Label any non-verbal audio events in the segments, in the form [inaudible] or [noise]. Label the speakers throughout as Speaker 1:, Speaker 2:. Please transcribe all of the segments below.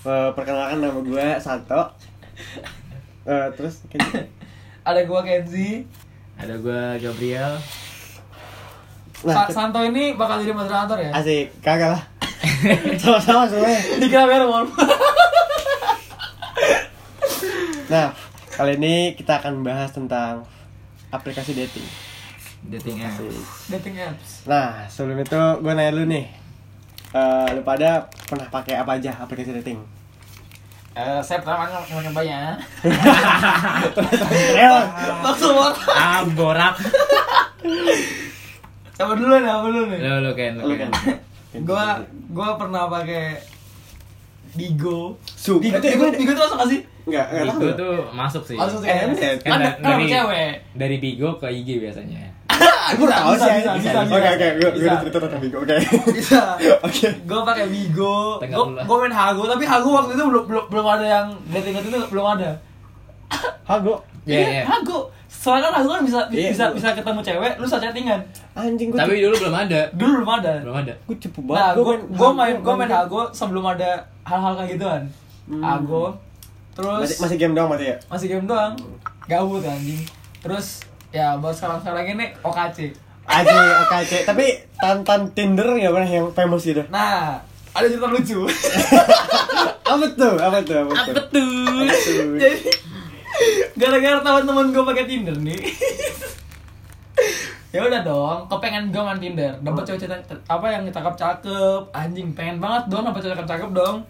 Speaker 1: Eh, perkenalkan nama gue Santo. Eh, terus kayaknya-
Speaker 2: Ada gua Kenzi.
Speaker 3: Ada gua Gabriel.
Speaker 1: nah,
Speaker 2: Sa- Santo ini bakal jadi moderator ya.
Speaker 1: asik kagak
Speaker 2: [laughs]
Speaker 1: lah. Sama-sama semuanya.
Speaker 2: Dikira biar mau.
Speaker 1: Nah, kali ini kita akan bahas tentang aplikasi dating.
Speaker 3: Dating app.
Speaker 2: Dating apps.
Speaker 1: Nah, sebelum itu gue nanya lu nih. Eh, lu pada pernah pakai apa aja aplikasi dating?
Speaker 2: Eh, saya pertama nggak mau ya. nyobanya.
Speaker 1: Real.
Speaker 2: Langsung banget.
Speaker 3: Ah, borak.
Speaker 2: Siapa dulu nih? Siapa dulu nih?
Speaker 3: Lo lo Ken, lo
Speaker 1: Lu
Speaker 3: Ken.
Speaker 1: kan.
Speaker 2: Gua gua pernah pakai Digo.
Speaker 1: Su.
Speaker 2: Digo,
Speaker 1: Itu-
Speaker 2: Digo,
Speaker 1: itu-
Speaker 2: Digo tuh masuk nggak sih?
Speaker 1: Enggak, enggak tahu.
Speaker 3: Bigo tuh masuk sih.
Speaker 2: Masuk sih.
Speaker 1: Eh,
Speaker 2: ya?
Speaker 1: kan
Speaker 3: Kan
Speaker 2: Kan
Speaker 3: da-
Speaker 2: kenapa
Speaker 3: dari
Speaker 2: cewek?
Speaker 3: dari Bigo ke IG biasanya.
Speaker 2: Ah,
Speaker 1: Gue tahu sih.
Speaker 2: bisa, bisa, bisa,
Speaker 1: Oke, oke, gue
Speaker 2: bisa.
Speaker 1: udah cerita tentang Bigo. Oke.
Speaker 2: Bisa.
Speaker 1: [laughs] Oke.
Speaker 2: Gue pakai Bigo,
Speaker 3: Tengah bulan.
Speaker 2: gue main Hago, tapi Hago waktu itu belum belum belum ada yang dating itu belum ada.
Speaker 1: Hago.
Speaker 3: Iya, iya.
Speaker 2: Hago. Soalnya kan Hago kan bisa
Speaker 1: Iya,
Speaker 2: bisa
Speaker 1: iya.
Speaker 2: bisa ketemu cewek, lu bisa chattingan.
Speaker 1: Anjing gue.
Speaker 3: Tapi dulu belum ada.
Speaker 2: Dulu belum ada.
Speaker 3: Belum ada.
Speaker 1: gue cepu banget.
Speaker 2: Nah, gue gue main gue main
Speaker 1: Hago.
Speaker 2: Hago sebelum ada hal-hal kayak gituan.
Speaker 1: Hmm.
Speaker 2: Hago. Terus
Speaker 1: Masih, masih game doang masih ya.
Speaker 2: masih game doang gabut anjing terus ya baru sekarang sekarang ini OKC
Speaker 1: Aji, oke, oke. Tapi tantan Tinder nggak pernah yang famous gitu.
Speaker 2: nah ada cerita lucu [laughs]
Speaker 1: Apa tuh? Apa tuh? Apa tuh?
Speaker 3: Betul.
Speaker 1: Apa tuh?
Speaker 2: jadi gara-gara teman-teman gue pakai Tinder nih [laughs] ya udah dong kepengen gue main Tinder dapat cewek cewek apa yang cakep cakep anjing pengen banget dong dapat cewek cakep cakep dong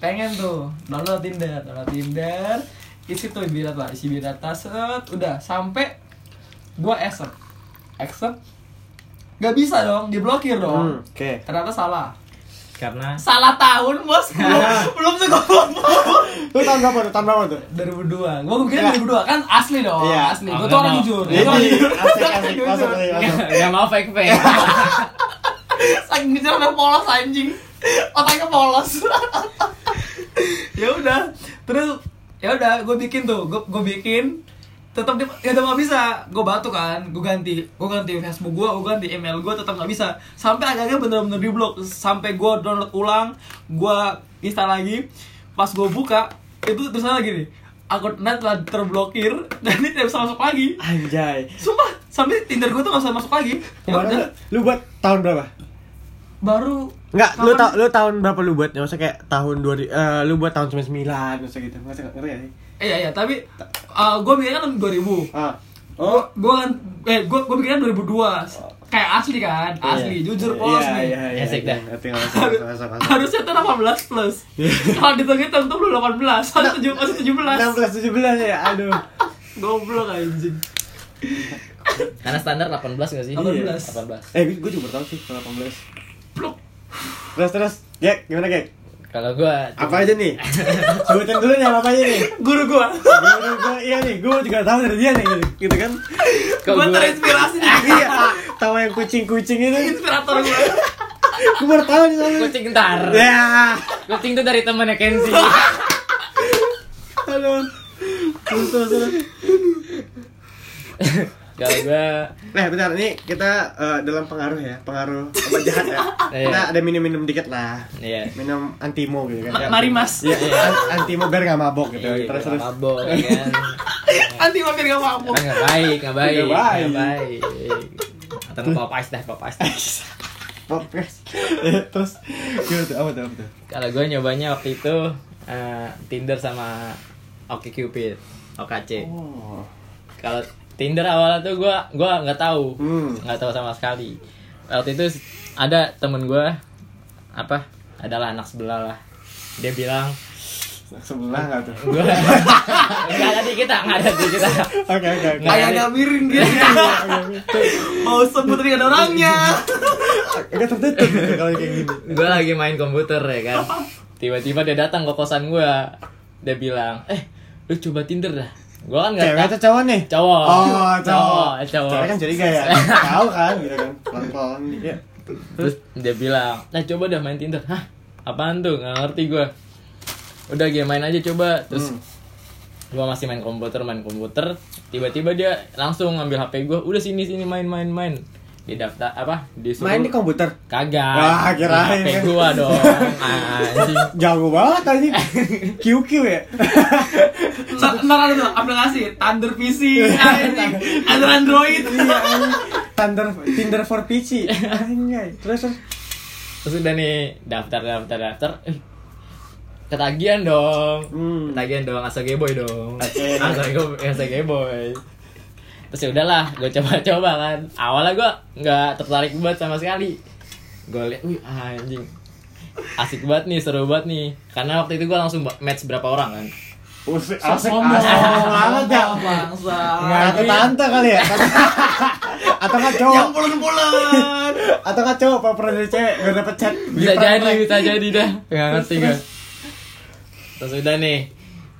Speaker 2: pengen tuh download Tinder download Tinder isi tuh birat lah isi birat set udah sampai gue accept accept Gak bisa dong, diblokir
Speaker 1: Hmm,
Speaker 2: dong.
Speaker 1: Oke.
Speaker 2: Ternyata salah.
Speaker 3: Karena
Speaker 2: Salah tahun, Bos.
Speaker 1: [laughs]
Speaker 2: Belum, belum sekolah.
Speaker 1: Lu tahun berapa tuh? Tahun berapa tuh?
Speaker 2: 2002 gua kira
Speaker 1: Enggak.
Speaker 2: 2002 kan asli dong
Speaker 1: Iya.
Speaker 2: asli
Speaker 3: Oh,
Speaker 2: gua tuh orang
Speaker 3: enggak.
Speaker 2: jujur gua
Speaker 1: Ini
Speaker 2: tuh orang
Speaker 1: Iya,
Speaker 2: jujur
Speaker 1: asik asik masuk
Speaker 2: Jujur.
Speaker 1: asik masuk.
Speaker 3: [laughs] nggak mau fake fake.
Speaker 2: saking jujur sampai polos anjing otaknya polos ya udah terus ya udah gue bikin tuh gue gue bikin tetap di- ya nggak ada mau bisa gue batu kan gue ganti gue ganti Facebook gue gue ganti email gue tetap nggak bisa sampai akhirnya bener-bener diblok sampai gue download ulang gue install lagi pas gue buka itu terusnya lagi nih akun net telah terblokir [laughs] dan ini tidak bisa masuk lagi
Speaker 1: Anjay.
Speaker 2: sumpah sampai Tinder gue tuh nggak bisa masuk lagi Ya
Speaker 1: Kemarin
Speaker 2: udah,
Speaker 1: lu- lu buat tahun berapa?
Speaker 2: baru
Speaker 1: Enggak, lu tau
Speaker 2: kapan-
Speaker 1: lu tahun berapa lu buatnya? Maksudnya kayak tahun 2000 eh lu buat tahun 99 maksudnya gitu. Maksudnya ngerti gak sih?
Speaker 2: Iya iya tapi uh, gue mikirnya kan 2000.
Speaker 1: Ah.
Speaker 2: Oh, gue kan eh gue gue mikirnya 2002. Kayak asli kan, asli
Speaker 1: Iya.
Speaker 2: jujur polos
Speaker 1: Iya,
Speaker 2: nih.
Speaker 1: Iya, iya.
Speaker 3: Asik
Speaker 1: iya.
Speaker 3: dah.
Speaker 1: Ngerti nggak? Masuk, masuk, masuk, masuk.
Speaker 2: Harusnya tuh 18 plus.
Speaker 1: Iya.
Speaker 2: Kalau dihitung-hitung tuh belum 18, soalnya tujuh- masih 17.
Speaker 1: 16 17 ya. Aduh.
Speaker 2: Goblok anjing.
Speaker 3: Karena standar 18 nggak sih?
Speaker 2: 18.
Speaker 3: 18.
Speaker 1: Eh, gue juga bertahun sih kalau 18.
Speaker 2: Blok.
Speaker 1: Terus terus, Gek, gimana Gek?
Speaker 3: Kalau gua
Speaker 1: Apa aja
Speaker 3: [laughs]
Speaker 1: nih? Sebutin dulu nih apa aja nih.
Speaker 2: Guru gua.
Speaker 1: Gua- gua- gua- iya nih, gue juga tahu dari dia nih gitu, gitu kan.
Speaker 3: Kok
Speaker 2: gua
Speaker 3: gua-
Speaker 2: terinspirasi nih.
Speaker 1: Iya, tahu yang kucing-kucing itu.
Speaker 2: Inspirator gua.
Speaker 1: Gue baru tahu nih soalnya.
Speaker 3: kucing ntar.
Speaker 1: Ya.
Speaker 3: Kucing tuh dari temannya Kenzi.
Speaker 1: Aduh. Terus terus. terus.
Speaker 3: Kalau gua
Speaker 1: Nah, bentar ini kita eh, dalam pengaruh ya, pengaruh obat jahat ya.
Speaker 3: Iya.
Speaker 1: Kita ada minum-minum dikit lah.
Speaker 3: iya.
Speaker 1: Minum antimo gitu kan.
Speaker 2: Ma- Mari Mas.
Speaker 1: Iya, iya. An- antimo biar gak mabok gitu.
Speaker 3: Iya,
Speaker 1: terus terus.
Speaker 3: mabok kan.
Speaker 2: Anti mampir gak
Speaker 3: Kan
Speaker 2: mampu.
Speaker 3: nggak baik, nggak baik,
Speaker 1: Nggak baik.
Speaker 3: nggak baik. Atau nggak pop ice dah, pop ice dah.
Speaker 1: Podcast. terus gitu tuh, apa tuh, apa tuh?
Speaker 3: Kalau gue nyobanya waktu itu eh, Tinder sama OkCupid, OKC.
Speaker 1: Oh.
Speaker 3: Kalau Tinder awalnya tuh gue gua nggak tahu,
Speaker 1: Hmm.
Speaker 3: nggak tahu sama sekali. Waktu itu ada temen gue apa? Adalah anak sebelah lah. Dia bilang
Speaker 1: Sebelah enggak tuh?
Speaker 3: gue [laughs] nggak ada di kita, nggak ada di kita.
Speaker 1: [laughs] Oke, oke, oke.
Speaker 3: Nggak.
Speaker 2: Kayak ada miring
Speaker 1: Iya,
Speaker 2: dia. Mau sebut tapi nggak ada orangnya.
Speaker 1: Agak tertutup gitu kalau kayak gini.
Speaker 3: gue lagi main komputer ya kan tiba-tiba dia datang ke kosan gue dia bilang eh lu coba tinder dah gue kan nggak
Speaker 1: Cewek
Speaker 3: tahu
Speaker 1: atau cowok nih?
Speaker 3: cowok
Speaker 1: Oh, cowok.
Speaker 3: cowok cowok.
Speaker 1: Cewek kan curiga
Speaker 3: [laughs]
Speaker 1: ya. Tahu kan gitu kan. Pelan-pelan ya.
Speaker 3: terus dia bilang nah coba dah main tinder hah apaan tuh nggak ngerti gue udah gue main aja coba terus
Speaker 1: Hmm.
Speaker 3: gue masih main komputer main komputer tiba-tiba dia langsung ngambil hp gue udah sini sini main main main di daftar apa disuruh
Speaker 1: Main di komputer.
Speaker 3: kagak
Speaker 1: Wah, kirain.
Speaker 3: Di HP gua dong anjing
Speaker 1: Jago banget anjing. QQ ya. [laughs]
Speaker 2: Ntar ntar ada tuh aplikasi Thunder
Speaker 1: [laughs]
Speaker 2: PC, anjing, ada Android.
Speaker 1: Iya. anjing. Thunder Tinder for PC. Anjay. Terus terus.
Speaker 3: terus udah nih daftar daftar daftar Eh, ketagihan dong
Speaker 1: Hmm.
Speaker 3: ketagihan dong asal geboy dong
Speaker 1: Oke.
Speaker 3: asal geboy asal geboy terus ya udahlah gue coba-coba kan awalnya gue nggak tertarik banget sama sekali gue liat wih anjing asik banget nih seru banget nih karena waktu itu gue langsung ba- match berapa orang kan
Speaker 1: Usik
Speaker 2: Asik
Speaker 1: asik asik banget ya.
Speaker 2: Bangsa.
Speaker 1: Nggak ada tante kali ya. Atau nggak cowok.
Speaker 2: Yang pulen-pulen.
Speaker 1: Atau nggak cowok pernah dari cewek nggak dapet chat.
Speaker 3: bisa
Speaker 1: Di
Speaker 3: jadi
Speaker 1: prank.
Speaker 3: bisa jadi dah nggak ngerti
Speaker 1: Terus,
Speaker 3: gue terus udah nih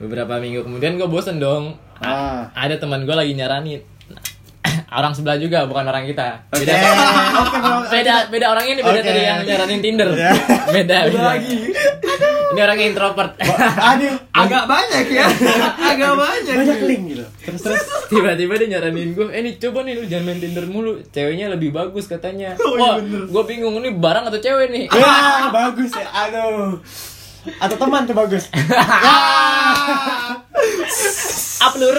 Speaker 3: beberapa minggu kemudian gue bosen dong
Speaker 1: Ah.
Speaker 3: ada teman gue lagi nyaranin Nah, [clears throat] orang sebelah juga bukan orang kita
Speaker 1: Oke.
Speaker 3: beda
Speaker 1: Oke, bro.
Speaker 3: beda beda orang ini beda
Speaker 1: Oke.
Speaker 3: dari yang nyaranin Tinder
Speaker 1: Ya.
Speaker 3: [laughs] beda
Speaker 2: Ada
Speaker 3: beda
Speaker 2: lagi.
Speaker 3: ini orang introvert
Speaker 1: Aduh.
Speaker 2: Agak banyak
Speaker 1: [laughs]
Speaker 2: ya. Agak banyak.
Speaker 1: Banyak link gitu. Terus terus.
Speaker 3: [laughs] tiba-tiba dia nyaranin gue eh nih coba nih lu jangan main Tinder mulu ceweknya lebih bagus katanya
Speaker 2: Oh, iya
Speaker 3: wah
Speaker 2: bener.
Speaker 3: gue bingung ini barang atau cewek nih
Speaker 1: Ya, bagus ya. Aduh. Atau teman tuh bagus.
Speaker 2: Ah,
Speaker 3: aplur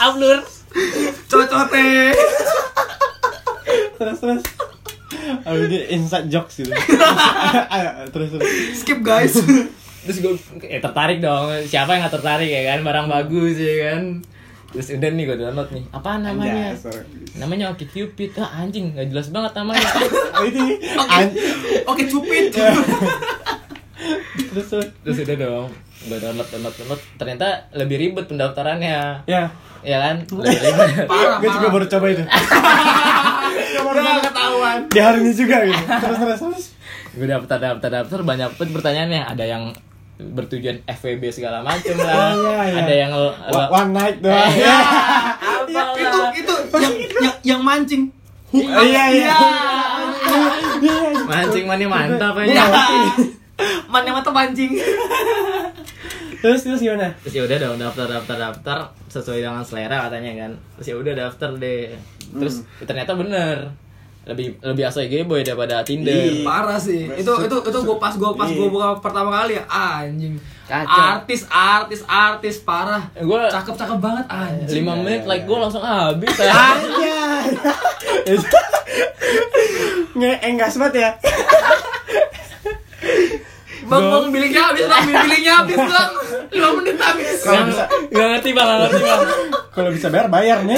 Speaker 3: aplur
Speaker 2: Cocote.
Speaker 1: terus terus Aduh, Oh, ini inside jokes [laughs] gitu Ayo, terus terus
Speaker 2: Skip guys.
Speaker 3: terus gue eh, tertarik dong siapa yang gak tertarik ya kan barang bagus ya kan terus udah nih gue download nih apa
Speaker 1: Anjay, Ya,
Speaker 3: namanya
Speaker 1: sorry.
Speaker 3: namanya Oke Cupid ah anjing nggak jelas banget namanya
Speaker 1: Oh, ini
Speaker 2: Oke.
Speaker 1: an-
Speaker 2: Oke cupid.
Speaker 1: Iya. terus terus
Speaker 3: terus udah dong gue download download download ternyata lebih ribet pendaftarannya
Speaker 1: ya
Speaker 3: ya kan lebih
Speaker 1: Iya.
Speaker 3: ribet
Speaker 2: Parah.
Speaker 1: gue juga
Speaker 2: parah.
Speaker 1: baru coba
Speaker 2: [laughs]
Speaker 1: itu Gua baru
Speaker 2: Udah
Speaker 1: coba.
Speaker 2: ketahuan.
Speaker 1: di hari ini juga gitu terus terus terus
Speaker 3: gue daftar daftar daftar banyak banget pertanyaannya ada yang bertujuan FWB segala macem lah
Speaker 1: Iya, iya.
Speaker 3: ada yang
Speaker 1: Wa- one night doang
Speaker 3: Eh, ya,
Speaker 2: Ya, itu
Speaker 3: apalah.
Speaker 2: itu yang, yang yang mancing.
Speaker 1: iya iya iya
Speaker 3: mancing mana mantap
Speaker 2: Ya.
Speaker 3: aja
Speaker 2: Mana mata mancing.
Speaker 1: terus terus gimana
Speaker 3: terus ya udah dong daftar daftar daftar sesuai dengan selera katanya kan terus ya udah daftar deh
Speaker 1: Hmm.
Speaker 3: terus ternyata bener lebih lebih asli boy daripada Tinder
Speaker 1: Iya.
Speaker 2: Parah sih. Itu itu itu gue pas gue pas gue buka pertama kali ya anjing.
Speaker 3: Kacau.
Speaker 2: Artis artis artis parah.
Speaker 3: gue
Speaker 2: Cakep cakep banget anjing.
Speaker 3: lima menit like gue langsung habis ya.
Speaker 1: aja [laughs] nge enggas banget ya
Speaker 2: Bang bang bilingnya habis bang bilingnya habis bang. Lima menit habis.
Speaker 1: kalau bisa
Speaker 3: Gak ngerti bang, gak ngerti bang
Speaker 1: kalau bisa bayar bayar nih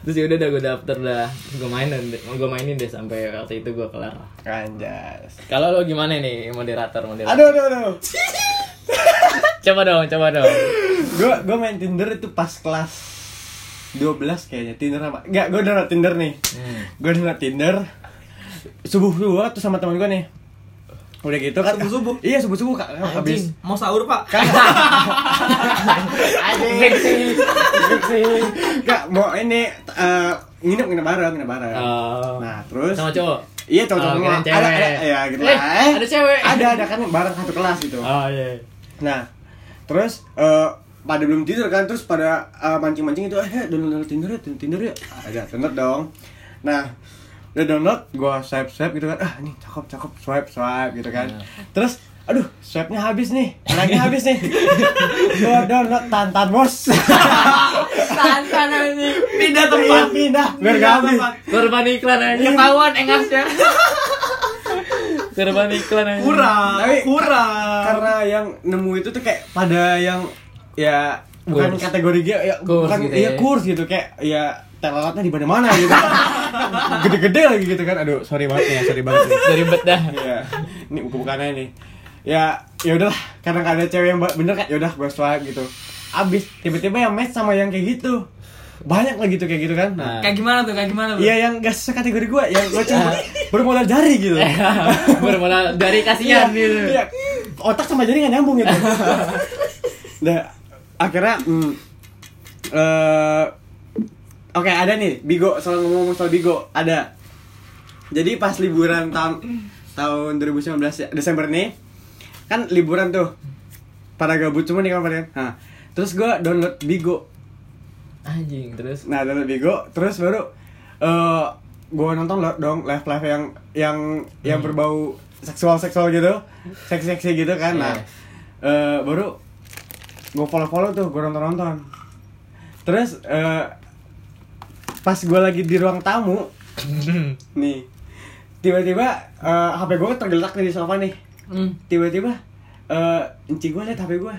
Speaker 3: Terus yaudah dah gue daftar dah Gue mainin deh, gue mainin deh sampai waktu itu gue kelar
Speaker 1: anjas
Speaker 3: Kalau lo gimana nih moderator moderator?
Speaker 1: aduh aduh aduh
Speaker 3: Coba dong, coba dong
Speaker 1: gue gue main Tinder itu pas kelas 12 kayaknya Tinder sama nggak gue download Tinder nih
Speaker 3: Hmm.
Speaker 1: gue download Tinder subuh subuh tuh sama teman gue nih udah gitu kan
Speaker 2: Subuh-subuh?
Speaker 1: iya subuh subuh kak habis
Speaker 2: Mau sahur pak?
Speaker 3: Anjing
Speaker 1: kak mau ini eh, nginep nginep bareng nginep bareng
Speaker 3: Oh.
Speaker 1: nah terus
Speaker 3: Sama cowok?
Speaker 1: iya cowok cowok
Speaker 3: Oh,
Speaker 1: ada
Speaker 3: kirain
Speaker 1: ada
Speaker 3: cewek.
Speaker 1: ya gitu
Speaker 3: Eh,
Speaker 1: Eh,
Speaker 3: ada cewek.
Speaker 1: ada ada kan bareng satu kelas gitu
Speaker 3: Oh iya
Speaker 1: Nah, terus eh, pada belum tidur kan, terus pada eh, mancing-mancing itu, eh download, download Tinder ya, download Tinder ya, Ah, ada Tinder dong. Nah, udah download, gua swipe swipe gitu kan, ah ini cakep cakep swipe swipe gitu kan.
Speaker 3: Iya.
Speaker 1: Terus, aduh swipe nya habis nih, anaknya habis
Speaker 3: [laughs]
Speaker 1: nih. gua download tantan bos,
Speaker 2: Tantan anjing. Pindah tempat.
Speaker 1: Iya, pindah, biar
Speaker 2: Pindah
Speaker 1: gak habis.
Speaker 2: tempat.
Speaker 3: Korban iklan aja
Speaker 2: Ketahuan engasnya.
Speaker 3: [laughs] Korban iklan aja
Speaker 2: Kurang.
Speaker 1: Tapi-
Speaker 2: Kurang.
Speaker 1: Karena yang nemu itu tuh kayak pada yang ya bukan
Speaker 3: Kurs.
Speaker 1: kategori dia, ya
Speaker 3: Kurs
Speaker 1: bukan
Speaker 3: gitu
Speaker 1: iya
Speaker 3: ya.
Speaker 1: kurs gitu kayak ya telelatnya di mana-mana gitu. [laughs] Gede-gede lagi gitu kan. Aduh, sorry banget ya, sorry banget. nih.
Speaker 3: Udah ribet dah
Speaker 1: Iya. Ini buka-bukaannya nih. Ya, ya udahlah, karena nggak ada cewek yang ba- bener kan, ya udah gue swipe gitu. Abis tiba-tiba yang match sama yang kayak gitu. Banyak lagi tuh kayak gitu kan.
Speaker 3: Nah.
Speaker 2: Kayak gimana tuh? Kayak gimana tuh?
Speaker 1: Iya yang gak sesuai kategori gue, yang gue cuma
Speaker 3: [laughs]
Speaker 1: bermodal jari gitu.
Speaker 3: Iya. Bermula dari kasihan gitu
Speaker 1: Iya. Otak sama jari nggak nyambung
Speaker 3: [laughs]
Speaker 1: gitu. nah, akhirnya mm, eh, Oke, ada nih Bigo, soal ngomong soal Bigo, ada. Jadi pas liburan tam, tahun 2019 ya, Desember nih kan liburan tuh para gabut cuma nih kemarin. Nah, terus gue download Bigo.
Speaker 3: Anjing, terus [laughs]
Speaker 1: Nah, download Bigo, terus baru eh gue nonton lo- dong live live yang yang yang berbau seksual seksual gitu seksi seksi gitu kan nah
Speaker 3: Iya.
Speaker 1: eh, baru gue follow follow tuh gue nonton nonton terus eh, pas gue lagi di ruang tamu nih tiba-tiba eh, hp gue tergeletak nih di sofa nih
Speaker 2: Hmm.
Speaker 1: tiba-tiba eh enci gue liat hp gue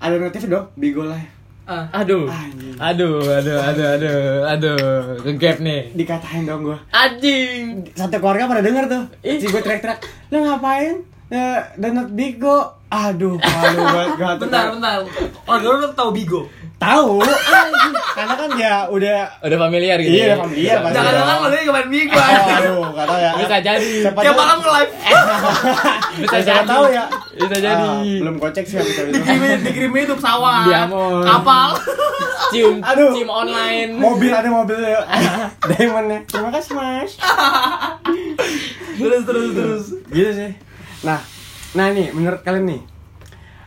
Speaker 1: ada notif dong bigo live
Speaker 2: Ah.
Speaker 3: Aduh.
Speaker 1: Anjing.
Speaker 3: Aduh, aduh, aduh, aduh, aduh. Ngegap nih.
Speaker 1: dikatain dong gue
Speaker 3: Anjing.
Speaker 1: satu keluarga pada denger tuh
Speaker 3: Ih.
Speaker 1: si gue teriak-teriak lo ngapain Eh, donat bigo aduh malu banget gak
Speaker 2: Bentar, bentar. Oh, dulu lu tahu Bigo.
Speaker 1: tahu anjing. karena kan ya udah
Speaker 3: Udah familiar gitu.
Speaker 1: Iya,
Speaker 3: ya?
Speaker 1: udah familiar pasti.
Speaker 2: Jangan-jangan lo dia kemarin Bigo.
Speaker 1: oh, aduh gak tahu ya
Speaker 3: Bisa jadi.
Speaker 1: Siapa
Speaker 2: Tiap
Speaker 1: tahu-
Speaker 2: malam nge-live.
Speaker 3: Bisa
Speaker 1: siapa
Speaker 3: jadi.
Speaker 1: tahu ya
Speaker 3: Bisa jadi.
Speaker 1: Ah, belum kocek sih habis itu
Speaker 2: Dikirimin, dikirimin itu pesawat.
Speaker 3: Di Amon.
Speaker 2: Kapal. [laughs]
Speaker 3: Cium,
Speaker 1: Aduh.
Speaker 3: cium online.
Speaker 1: mobil ada mobil
Speaker 3: [laughs]
Speaker 1: ya diamondnya terima kasih mas
Speaker 2: terus, terus, terus.
Speaker 1: gitu sih nah nah nih menurut kalian nih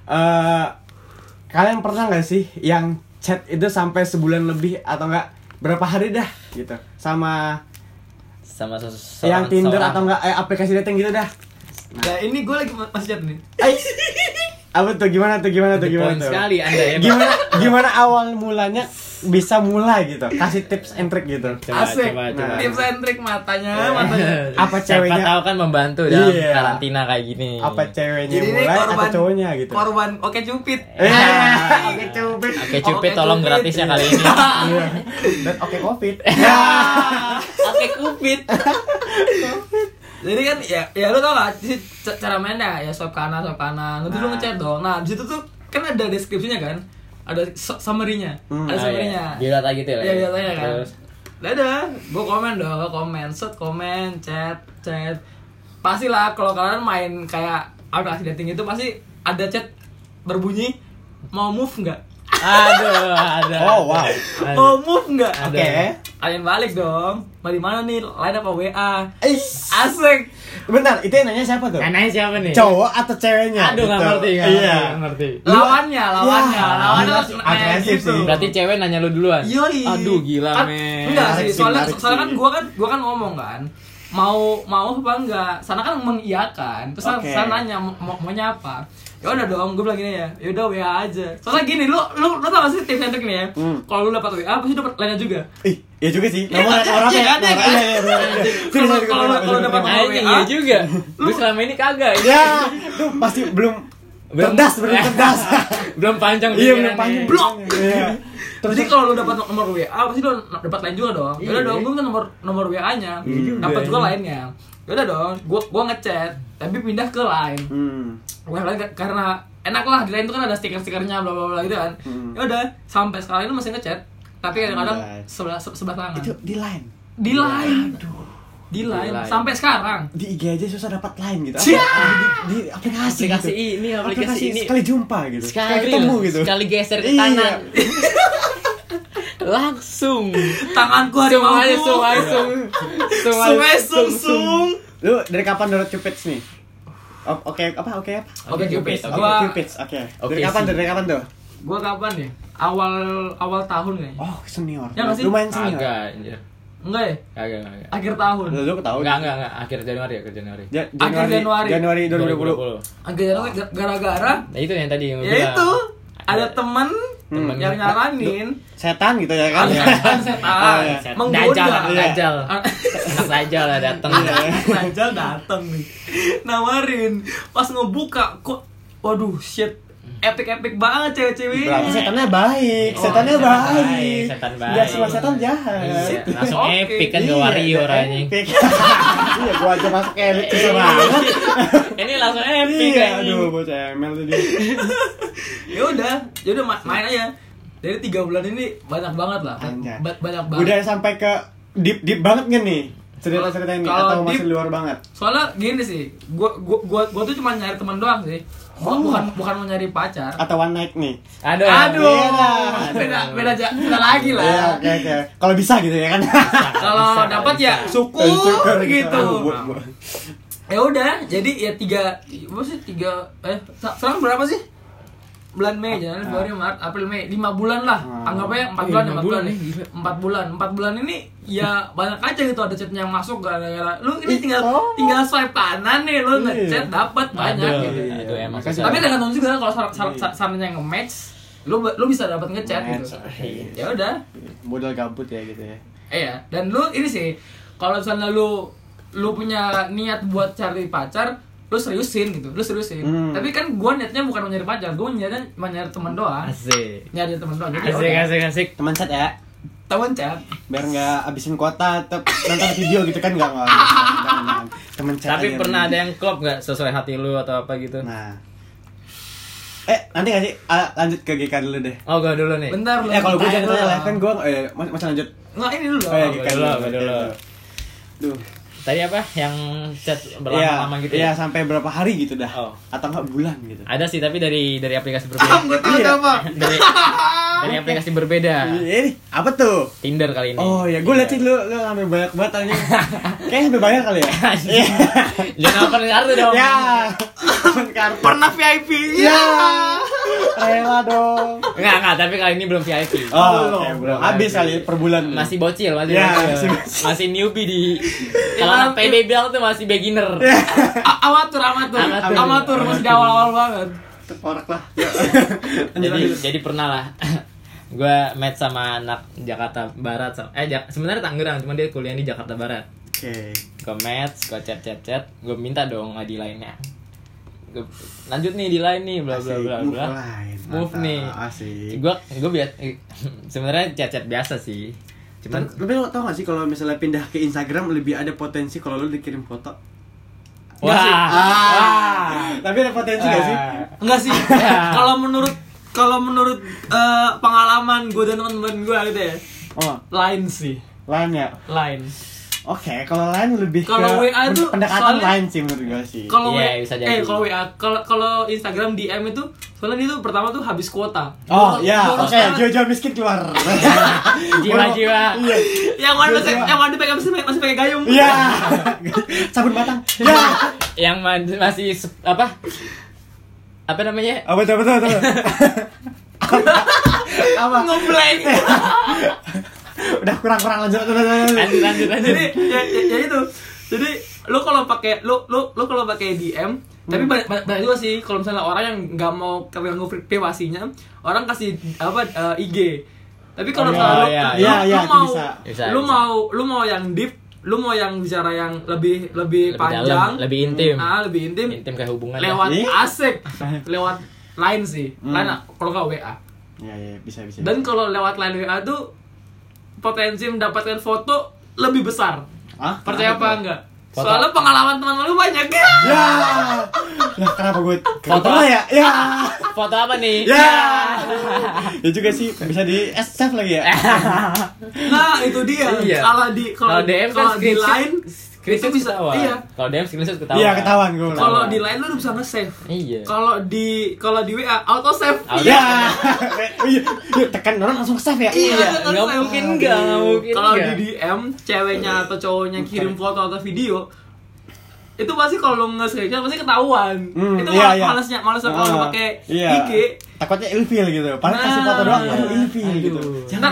Speaker 1: eh kalian pernah nggak sih yang chat itu sampai sebulan lebih atau enggak berapa hari dah gitu sama
Speaker 3: Sama ses-
Speaker 1: yang
Speaker 3: seorang-
Speaker 1: Tinder
Speaker 3: seorang.
Speaker 1: atau enggak eh, aplikasi dating gitu dah
Speaker 2: Ya, ini gue lagi ma- masih chat nih.
Speaker 1: Ais. apa tuh gimana tuh gimana tuh
Speaker 3: The
Speaker 1: gimana
Speaker 3: point
Speaker 1: tuh
Speaker 3: sekali Anda ya. Pak.
Speaker 1: gimana gimana awal mulanya bisa mulai gitu kasih tips and trick gitu
Speaker 3: Coba,
Speaker 2: Asik.
Speaker 3: coba, coba. Iya.
Speaker 1: Nah.
Speaker 2: Tips and trick matanya, matanya.
Speaker 1: Apa ceweknya-
Speaker 3: Siapa tahu kan membantu dalam
Speaker 1: Iya.
Speaker 3: karantina kayak gini.
Speaker 1: apa ceweknya
Speaker 2: Jadi ini
Speaker 1: mulai atau
Speaker 2: korban-
Speaker 1: cowoknya gitu
Speaker 2: Korban, oke cupid.
Speaker 1: [laughs] eh
Speaker 2: [laughs]
Speaker 3: Ah.
Speaker 1: oke cupid
Speaker 3: Oke, cupid
Speaker 2: Oke,
Speaker 3: tolong
Speaker 2: Cupid.
Speaker 3: gratisnya kali
Speaker 1: [laughs]
Speaker 3: ini. Oh,
Speaker 1: Iya. dan oke covid
Speaker 3: [laughs]
Speaker 2: Ah, Oke
Speaker 1: [laughs]
Speaker 2: kupit. Jadi kan ya ya lu tau gak sih c- cara main dah ya swipe kanan swipe kanan nanti lu
Speaker 1: Nah.
Speaker 2: ngechat dong. Nah di situ tuh kan ada deskripsinya kan, ada su- summary-nya,
Speaker 1: Hmm.
Speaker 2: ada
Speaker 3: Oh, iya.
Speaker 2: summary-nya.
Speaker 3: Di data gitu ya.
Speaker 2: Iya iya tanya kan.
Speaker 3: Terus,
Speaker 2: Dadah, gua komen dong, gua komen, set komen, chat, chat. Pastilah kalau kalian main kayak aplikasi dating itu pasti ada chat berbunyi mau move nggak?
Speaker 3: Aduh, Nah, ada.
Speaker 1: Oh, wow.
Speaker 3: Ada.
Speaker 2: Mau move nggak?
Speaker 3: Ada.
Speaker 1: Oke.
Speaker 2: Kalian balik dong. Mau di mana nih? Line apa WA?
Speaker 1: Eh,
Speaker 2: Asik.
Speaker 1: bentar, itu yang nanya siapa tuh?
Speaker 3: Nanya siapa nih?
Speaker 1: Cowok atau ceweknya?
Speaker 3: Aduh, nggak
Speaker 1: Gitu.
Speaker 3: ngerti, nggak
Speaker 1: Iya.
Speaker 3: ngerti, nggak ngerti.
Speaker 2: Lawannya, lawannya,
Speaker 1: Ya,
Speaker 2: lawannya harus
Speaker 1: agresif-
Speaker 2: kayak
Speaker 1: agresif
Speaker 2: gitu.
Speaker 1: sih.
Speaker 3: Berarti cewek nanya lu duluan.
Speaker 2: Yoi.
Speaker 3: Aduh, gila,
Speaker 2: kan,
Speaker 3: men.
Speaker 2: Enggak sih,
Speaker 1: Menarik sih,
Speaker 2: soalnya
Speaker 1: menarik
Speaker 2: soalnya kan
Speaker 1: sih.
Speaker 2: gua kan gua kan ngomong kan mau mau apa enggak sana kan mengiyakan terus
Speaker 1: Oke.
Speaker 2: sana nanya mau, mau mau nyapa ya udah dong gue bilang gini ya ya udah wa aja soalnya gini lu lu lu tau gak sih tips and trick nih ya
Speaker 1: Hmm.
Speaker 2: kalau lu dapat wa pasti dapat lainnya juga
Speaker 1: Ih, iya juga sih.
Speaker 2: Iya,
Speaker 1: Nomor
Speaker 2: kan?
Speaker 1: orang
Speaker 2: Iya,
Speaker 1: ya.
Speaker 2: kan? Iya,
Speaker 1: nomor-
Speaker 2: kan?
Speaker 1: Iya, iya, benar, benar. Sini, sini,
Speaker 2: Kalau-
Speaker 1: sini,
Speaker 2: kalau
Speaker 1: sini,
Speaker 2: dapat
Speaker 1: sini.
Speaker 2: nomor-
Speaker 3: Anjing,
Speaker 2: WA.
Speaker 3: iya juga. Lu selama ini kagak.
Speaker 1: Ya, tuh pasti belum
Speaker 3: Belum-
Speaker 1: cerdas, belum cerdas.
Speaker 3: Belum panjang
Speaker 1: Iya,
Speaker 3: pikirannya.
Speaker 1: belum panjang.
Speaker 2: Blok.
Speaker 1: Iya. Terus
Speaker 2: Jadi kalau lu dapat nomor WA pasti lu dapat lain juga dong. Ya udah
Speaker 1: Iya.
Speaker 2: dong, gua minta nomor nomor WA-nya.
Speaker 1: Iya
Speaker 2: Dapat
Speaker 1: juga.
Speaker 2: juga lainnya. Ya udah dong, gua gua ngechat tapi pindah ke lain.
Speaker 1: hmm.
Speaker 2: Gua lain ka- karena enak lah di lain itu kan ada stiker-stikernya bla bla bla gitu kan.
Speaker 1: Hmm.
Speaker 2: Ya udah, sampai sekarang ini masih ngechat tapi kadang-kadang
Speaker 1: Anjay.
Speaker 2: sebelah se- sebelah tangan.
Speaker 1: Itu di line.
Speaker 2: Di lain. Di lain
Speaker 3: Di line.
Speaker 2: sampai sekarang.
Speaker 1: Di IG aja susah dapat line gitu.
Speaker 2: Cia!
Speaker 1: Apa- Di, di aplikasi,
Speaker 3: Aplikasi
Speaker 1: gitu.
Speaker 3: ini, aplikasi ini.
Speaker 1: sekali jumpa gitu.
Speaker 3: Sekali,
Speaker 1: ketemu
Speaker 3: loh.
Speaker 1: gitu.
Speaker 3: Sekali geser ke
Speaker 1: Iya.
Speaker 3: kanan. Langsung.
Speaker 2: Tanganku hari
Speaker 3: Sung
Speaker 2: mau.
Speaker 3: aja, sung
Speaker 1: Iya.
Speaker 3: aja, sung. Sung aja,
Speaker 2: sung sung.
Speaker 1: Lu dari kapan download Cupids nih? O- Oke, apa? Oke apa?
Speaker 2: Oke, Cupid.
Speaker 1: Oke,
Speaker 2: Gua-
Speaker 1: Cupids, oke.
Speaker 3: Oke,
Speaker 1: Dari kapan
Speaker 3: sih.
Speaker 1: tuh? Dari kapan tuh?
Speaker 2: Gua kapan ya? Awal awal tahun kayaknya.
Speaker 1: Oh, senior.
Speaker 2: Ya nggak sih?
Speaker 1: Lumayan senior.
Speaker 3: Kagak, anjir.
Speaker 2: Enggak ya?
Speaker 3: Kagak, kagak.
Speaker 2: Akhir tahun.
Speaker 1: Lu, lu ketahuan.
Speaker 3: Enggak, enggak, enggak. Akhir Januari, akhir Januari.
Speaker 1: Ja-
Speaker 2: Akhir
Speaker 1: Januari, Januari 2020.
Speaker 2: Akhirnya gara-gara
Speaker 3: Nah, itu yang tadi yang gua
Speaker 1: Iya.
Speaker 2: ya itu ada
Speaker 3: Ada-
Speaker 2: temen
Speaker 3: Temen.
Speaker 2: yang nyaranin
Speaker 1: Setan gitu ya kan?
Speaker 2: ada setan setan
Speaker 1: Iya.
Speaker 2: menggoda
Speaker 3: Dajjal, anak
Speaker 1: Iya.
Speaker 3: Dajjal. Anak Dajjal lah dateng.
Speaker 2: Iya. Najal dateng nih nawarin pas ngebuka kok waduh shit epic epic banget cewek-cewek
Speaker 1: [laughs] Berarti setannya baik,
Speaker 3: Oh,
Speaker 1: setannya
Speaker 3: setan
Speaker 1: baik.
Speaker 3: baik, setan
Speaker 1: Gak
Speaker 3: baik.
Speaker 1: semua setan
Speaker 3: Iya,
Speaker 1: jahat.
Speaker 3: Langsung
Speaker 2: Oke.
Speaker 3: epic kan ke
Speaker 1: Iya,
Speaker 3: warrior
Speaker 1: epic.
Speaker 3: anjing.
Speaker 1: [laughs]
Speaker 3: Iya,
Speaker 1: Iya, gua aja masuk elit susah banget.
Speaker 3: Ini langsung epic
Speaker 1: Iya,
Speaker 3: anjing.
Speaker 1: aduh bocah ML tuh dia.
Speaker 2: ya udah ya udah ma- main aja dari tiga bulan ini banyak banget lah
Speaker 1: Anjay.
Speaker 2: Ba- banyak banget
Speaker 1: Udah sampai ke deep deep banget nggak nih? Cerita-cerita ini
Speaker 2: Kalau
Speaker 1: atau masih
Speaker 2: deep-
Speaker 1: luar banget?
Speaker 2: soalnya gini sih gua gua gua, gua tuh cuma nyari teman doang sih Gua-
Speaker 1: Oh.
Speaker 2: bukan bukan mau nyari pacar
Speaker 1: Atau one night nih? Iya
Speaker 3: Aduh. Iya
Speaker 2: aduh
Speaker 1: beda.
Speaker 2: beda beda ja- beda lagi
Speaker 1: Iya,
Speaker 2: lah
Speaker 1: oke oke. Kalau bisa gitu ya kan?
Speaker 2: kalau dapat ya syukur
Speaker 1: [laughs] Syukur Nah,
Speaker 2: gitu
Speaker 1: Aduh, gua- gua-
Speaker 2: ya udah jadi ya tiga apa sih tiga eh sa- sekarang berapa sih bulan Mei, Januari, Februari, Maret, April, Mei, 5 bulan lah.
Speaker 1: Ah.
Speaker 2: Anggapnya 4
Speaker 3: Eh,
Speaker 2: bulan,
Speaker 3: lima
Speaker 2: 4 bulan
Speaker 3: bulan
Speaker 2: nih.
Speaker 3: nih, gila.
Speaker 2: 4 bulan. 4 bulan ini
Speaker 1: [laughs]
Speaker 2: ya banyak aja gitu ada chatnya yang masuk gara-gara lu ini
Speaker 1: Ih,
Speaker 2: tinggal
Speaker 1: oh.
Speaker 2: tinggal swipe kanan nih lu
Speaker 1: Iya.
Speaker 2: ngechat dapat banyak
Speaker 3: Aduh,
Speaker 2: gitu.
Speaker 1: Iya,
Speaker 3: aduh, emang
Speaker 1: makasih.
Speaker 3: susah.
Speaker 2: Tapi tergantung juga kalau sar sar
Speaker 1: Iya.
Speaker 2: sar sarannya nge-match, lu lu bisa dapat ngechat gitu.
Speaker 1: Match, iya.
Speaker 2: Ya udah.
Speaker 1: modal gabut ya gitu ya
Speaker 2: Iya, dan lu ini sih kalau misalnya lu lu punya niat buat cari pacar, lu seriusin gitu, lu seriusin.
Speaker 1: Hmm.
Speaker 2: Tapi kan gua niatnya bukan mau nyari pacar, gua niatnya mau nyari teman doang.
Speaker 3: Asik.
Speaker 2: Nyari teman doang. Jadi kan,
Speaker 3: Asik,
Speaker 2: udah,
Speaker 3: asik, asik.
Speaker 1: teman set ya
Speaker 2: teman chat.
Speaker 1: biar nggak abisin kuota tetap nonton video gitu kan nggak nggak bisa, jangan, jangan. temen chat
Speaker 3: Tapi
Speaker 1: aja.
Speaker 3: pernah ada yang klop nggak sesuai hati lu atau apa gitu?
Speaker 1: nah eh nanti nggak sih Ah, lanjut ke GK dulu deh
Speaker 3: Oh, gua dulu nih.
Speaker 2: Bentar lu.
Speaker 1: eh kalau gue
Speaker 2: tanya
Speaker 1: jangan
Speaker 2: dulu.
Speaker 1: tanya lah kan gue eh, mas- masih lanjut
Speaker 2: Nggak, ini dulu.
Speaker 1: oh ya
Speaker 3: iya.
Speaker 1: GK
Speaker 3: dulu,
Speaker 1: dulu
Speaker 3: dulu.
Speaker 1: Duh.
Speaker 3: Tadi apa? Yang chat
Speaker 1: Iya,
Speaker 3: berlama-lama gitu.
Speaker 1: iya
Speaker 3: ya?
Speaker 1: sampai berapa hari gitu dah
Speaker 3: Oh.
Speaker 1: atau nggak bulan gitu
Speaker 3: Ada sih tapi dari dari aplikasi
Speaker 2: Ah,
Speaker 3: berbeda.
Speaker 2: gua tahu
Speaker 1: Iya.
Speaker 2: apa.
Speaker 3: dari, dari aplikasi berbeda.
Speaker 1: Iya, ini apa tuh
Speaker 3: Tinder kali ini.
Speaker 1: Oh ya, gue liat sih lu lu sampai banyak banget tanya. Kayaknya sampai banyak kali ya.
Speaker 3: Anjing. Jangan open kartu dong.
Speaker 1: ya. Temen kartu.
Speaker 2: Pernah VIP.
Speaker 1: Ya. [laughs] Rela dong.
Speaker 3: Enggak, enggak, tapi kali ini belum VIP.
Speaker 1: Oh, oke, belum. Habis
Speaker 3: Belum.
Speaker 1: kali ya, per bulan.
Speaker 3: Masih bocil, masih
Speaker 1: Ya,
Speaker 3: bocil.
Speaker 1: masih
Speaker 3: Masih,
Speaker 1: bocil. Ya,
Speaker 3: newbie
Speaker 1: [laughs]
Speaker 3: di kalau
Speaker 2: Iya.
Speaker 3: PBB tuh masih beginner.
Speaker 2: [laughs] A- Amatur, amatur.
Speaker 3: Amatur.
Speaker 2: Amatur masih di awal-awal banget.
Speaker 1: Terporak lah. Ya. [laughs] Lanjut,
Speaker 3: jadi
Speaker 1: lanjut.
Speaker 3: jadi pernah lah [laughs] gue match sama anak Jakarta Barat sama- eh Jak- sebenarnya Tangerang cuma dia kuliah di Jakarta Barat
Speaker 1: Oke.
Speaker 3: gue match gue chat chat chat gue minta dong di lainnya Gua, lanjut nih di lain nih bla bla
Speaker 1: Asik,
Speaker 3: bla
Speaker 1: move
Speaker 3: bla
Speaker 1: line.
Speaker 3: move
Speaker 1: Mantap,
Speaker 3: nih
Speaker 1: asik.
Speaker 3: gue gue biasa [laughs] sebenarnya chat chat biasa sih cuman
Speaker 1: Tapi tapi lo tau gak sih kalau misalnya pindah ke Instagram lebih ada potensi kalau lo dikirim foto?
Speaker 3: [laughs]
Speaker 1: Ah.
Speaker 3: wah
Speaker 2: ah.
Speaker 3: wah
Speaker 1: Tapi ada potensi gak sih?
Speaker 3: Ah.
Speaker 2: Enggak
Speaker 1: [laughs]
Speaker 2: sih.
Speaker 1: Ya.
Speaker 2: Kalau menurut kalau menurut eh, pengalaman gue dan teman-teman gue gitu ya,
Speaker 1: Oh,
Speaker 2: lain sih,
Speaker 1: lain ya.
Speaker 2: lain.
Speaker 1: Oke, kalau lain lebih
Speaker 2: Kalau
Speaker 1: ke
Speaker 2: WA tuh
Speaker 1: pendekatan
Speaker 2: soalnya-
Speaker 1: lain sih menurut gue sih.
Speaker 2: Kalau
Speaker 3: Iya,
Speaker 2: W-
Speaker 3: bisa jadi.
Speaker 2: eh kalau WA kalau kalau Instagram DM itu soalnya itu pertama tuh habis kuota.
Speaker 1: Oh
Speaker 2: Boros-
Speaker 1: ya,
Speaker 2: boros
Speaker 1: oke,
Speaker 2: banget.
Speaker 1: jiwa-jiwa miskin keluar.
Speaker 3: Jiwa-jiwa.
Speaker 1: Iya.
Speaker 2: Yang mana masih
Speaker 1: Jiwa-jiwa.
Speaker 2: yang mana dipegang masih masih pakai gayung. [laughs]
Speaker 1: Iya. Sabun batang. Ya.
Speaker 3: yang ma- masih se- apa apa namanya
Speaker 2: Ah,
Speaker 1: Apa tuh, apa tuh, apa tuh? [laughs] Apa?
Speaker 2: Ngeblank.
Speaker 1: Udah kurang-kurang lanjut. lanjut, lanjut, lanjut.
Speaker 3: lanjut lanjut
Speaker 2: [laughs]
Speaker 3: lanjut
Speaker 2: jadi ya, ya, ya itu. Jadi lu kalau pakai lu lu lu kalau pakai DM
Speaker 1: Hmm.
Speaker 2: tapi banyak, banyak banyak juga sih kalau misalnya orang yang nggak mau terganggu pri- privasinya orang kasih apa eh, IG tapi kalau
Speaker 3: Oh,
Speaker 2: misalnya lu- lu,
Speaker 3: iya, iya,
Speaker 1: iya. Iya,
Speaker 2: lu
Speaker 1: itu
Speaker 2: mau
Speaker 1: bisa.
Speaker 3: Bisa,
Speaker 2: lu
Speaker 3: bisa.
Speaker 2: mau lu mau yang deep lu mau yang bicara yang lebih lebih,
Speaker 3: lebih dalam
Speaker 2: panjang
Speaker 3: lebih intim
Speaker 2: ah lebih intim
Speaker 3: intim kayak hubungan ya. lah.
Speaker 2: lewat
Speaker 1: Ih.
Speaker 3: [laughs]
Speaker 2: asik lewat lain sih
Speaker 3: Hmm.
Speaker 2: lain ah, kalau nggak WA
Speaker 3: Iya.
Speaker 1: Ya, ya, bisa, bisa.
Speaker 2: dan kalau lewat lain WA tuh potensi mendapatkan foto lebih besar
Speaker 1: ah,
Speaker 2: percaya apa
Speaker 1: kenapa
Speaker 2: enggak
Speaker 3: Foto.
Speaker 2: soalnya pengalaman teman lu banyak
Speaker 1: tuh? Ya. Lah, kenapa gue?
Speaker 3: Foto.
Speaker 1: Foto ya? Ya.
Speaker 3: foto apa nih
Speaker 1: Ya. Ya juga sih bisa di eh, save lagi ya.
Speaker 2: nah itu dia
Speaker 3: Iya.
Speaker 2: kalau di kalau
Speaker 3: kalau DM kan
Speaker 2: kalau di
Speaker 3: screenshot-
Speaker 2: lain itu
Speaker 3: screenshot
Speaker 2: bisa
Speaker 3: ketahuan.
Speaker 2: iya
Speaker 3: kalau DM screenshot ketahuan
Speaker 1: Iya, ketahuan gue.
Speaker 2: kalau di lain lu bisa nge-save
Speaker 3: iya
Speaker 2: kalau di kalau di WA auto save
Speaker 3: Auto-
Speaker 1: Ya. [laughs] Iya. Iya, Tekan orang langsung save ya.
Speaker 2: Iya.
Speaker 3: nggak mungkin enggak nggak
Speaker 1: Iya
Speaker 3: mungkin
Speaker 2: kalau di
Speaker 3: enggak.
Speaker 2: DM ceweknya atau cowoknya kirim foto atau video itu pasti kalau nge screenshot pasti ketahuan
Speaker 1: Hmm,
Speaker 2: itu
Speaker 1: iya,
Speaker 2: mal-
Speaker 1: iya.
Speaker 2: malesnya malesnya kalau
Speaker 1: Ah,
Speaker 2: pakai
Speaker 1: iya.
Speaker 2: IG
Speaker 1: Takutnya ilfil gitu. Padahal kasih
Speaker 2: Nah,
Speaker 1: foto doang,
Speaker 2: iya.
Speaker 1: aduh ilfil gitu.
Speaker 2: ntar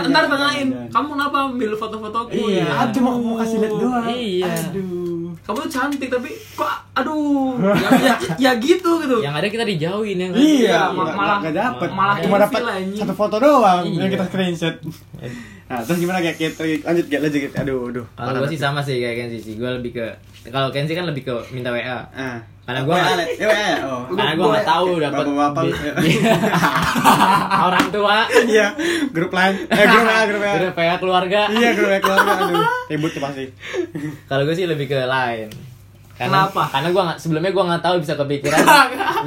Speaker 1: Jangan,
Speaker 2: ntar
Speaker 1: jangan,
Speaker 2: tanyain
Speaker 1: jangan.
Speaker 2: kamu kenapa ambil foto-fotoku
Speaker 1: Iya,
Speaker 2: ya?"
Speaker 1: aku cuma mau kasih lihat doang.
Speaker 3: Iya.
Speaker 1: Aduh.
Speaker 2: kamu tuh cantik tapi kok
Speaker 1: [laughs]
Speaker 2: aduh ya, ya, ya gitu gitu
Speaker 3: yang ada kita dijauhin ya nggak?
Speaker 1: Iya,
Speaker 2: mal-
Speaker 1: nggak-
Speaker 2: malah-
Speaker 1: nggak dapet.
Speaker 2: malah
Speaker 1: cuma
Speaker 2: ilfil
Speaker 1: dapat
Speaker 2: anjing.
Speaker 1: satu foto doang
Speaker 3: Iya.
Speaker 1: yang kita screenshot. Nah, terus gimana kayak kita lanjut gak lanjut Gek. Aduh, aduh.
Speaker 3: kalau
Speaker 1: parah
Speaker 3: gue sih
Speaker 1: banget.
Speaker 3: sama sih kayak Kenzi sih gue lebih ke kalau Kenzi kan lebih ke minta
Speaker 1: [laughs]
Speaker 3: WA
Speaker 1: Ah.
Speaker 3: Karena gua-
Speaker 1: Ya, Alex. Ya, ya, oh.
Speaker 3: karena gue nggak tahu dapat
Speaker 1: Bapak-bapak.
Speaker 3: [laughs] di- Iya. orang tua
Speaker 1: Iya, grup lain. Eh, grup A, grup A.
Speaker 3: udah WA keluarga
Speaker 1: Iya, grup A keluarga. Aduh, ribut tuh pasti.
Speaker 3: kalau gue sih lebih ke lain karena,
Speaker 2: Kenapa?
Speaker 3: Karena gue nggak sebelumnya gue nggak tahu bisa
Speaker 1: [laughs]
Speaker 3: kepikiran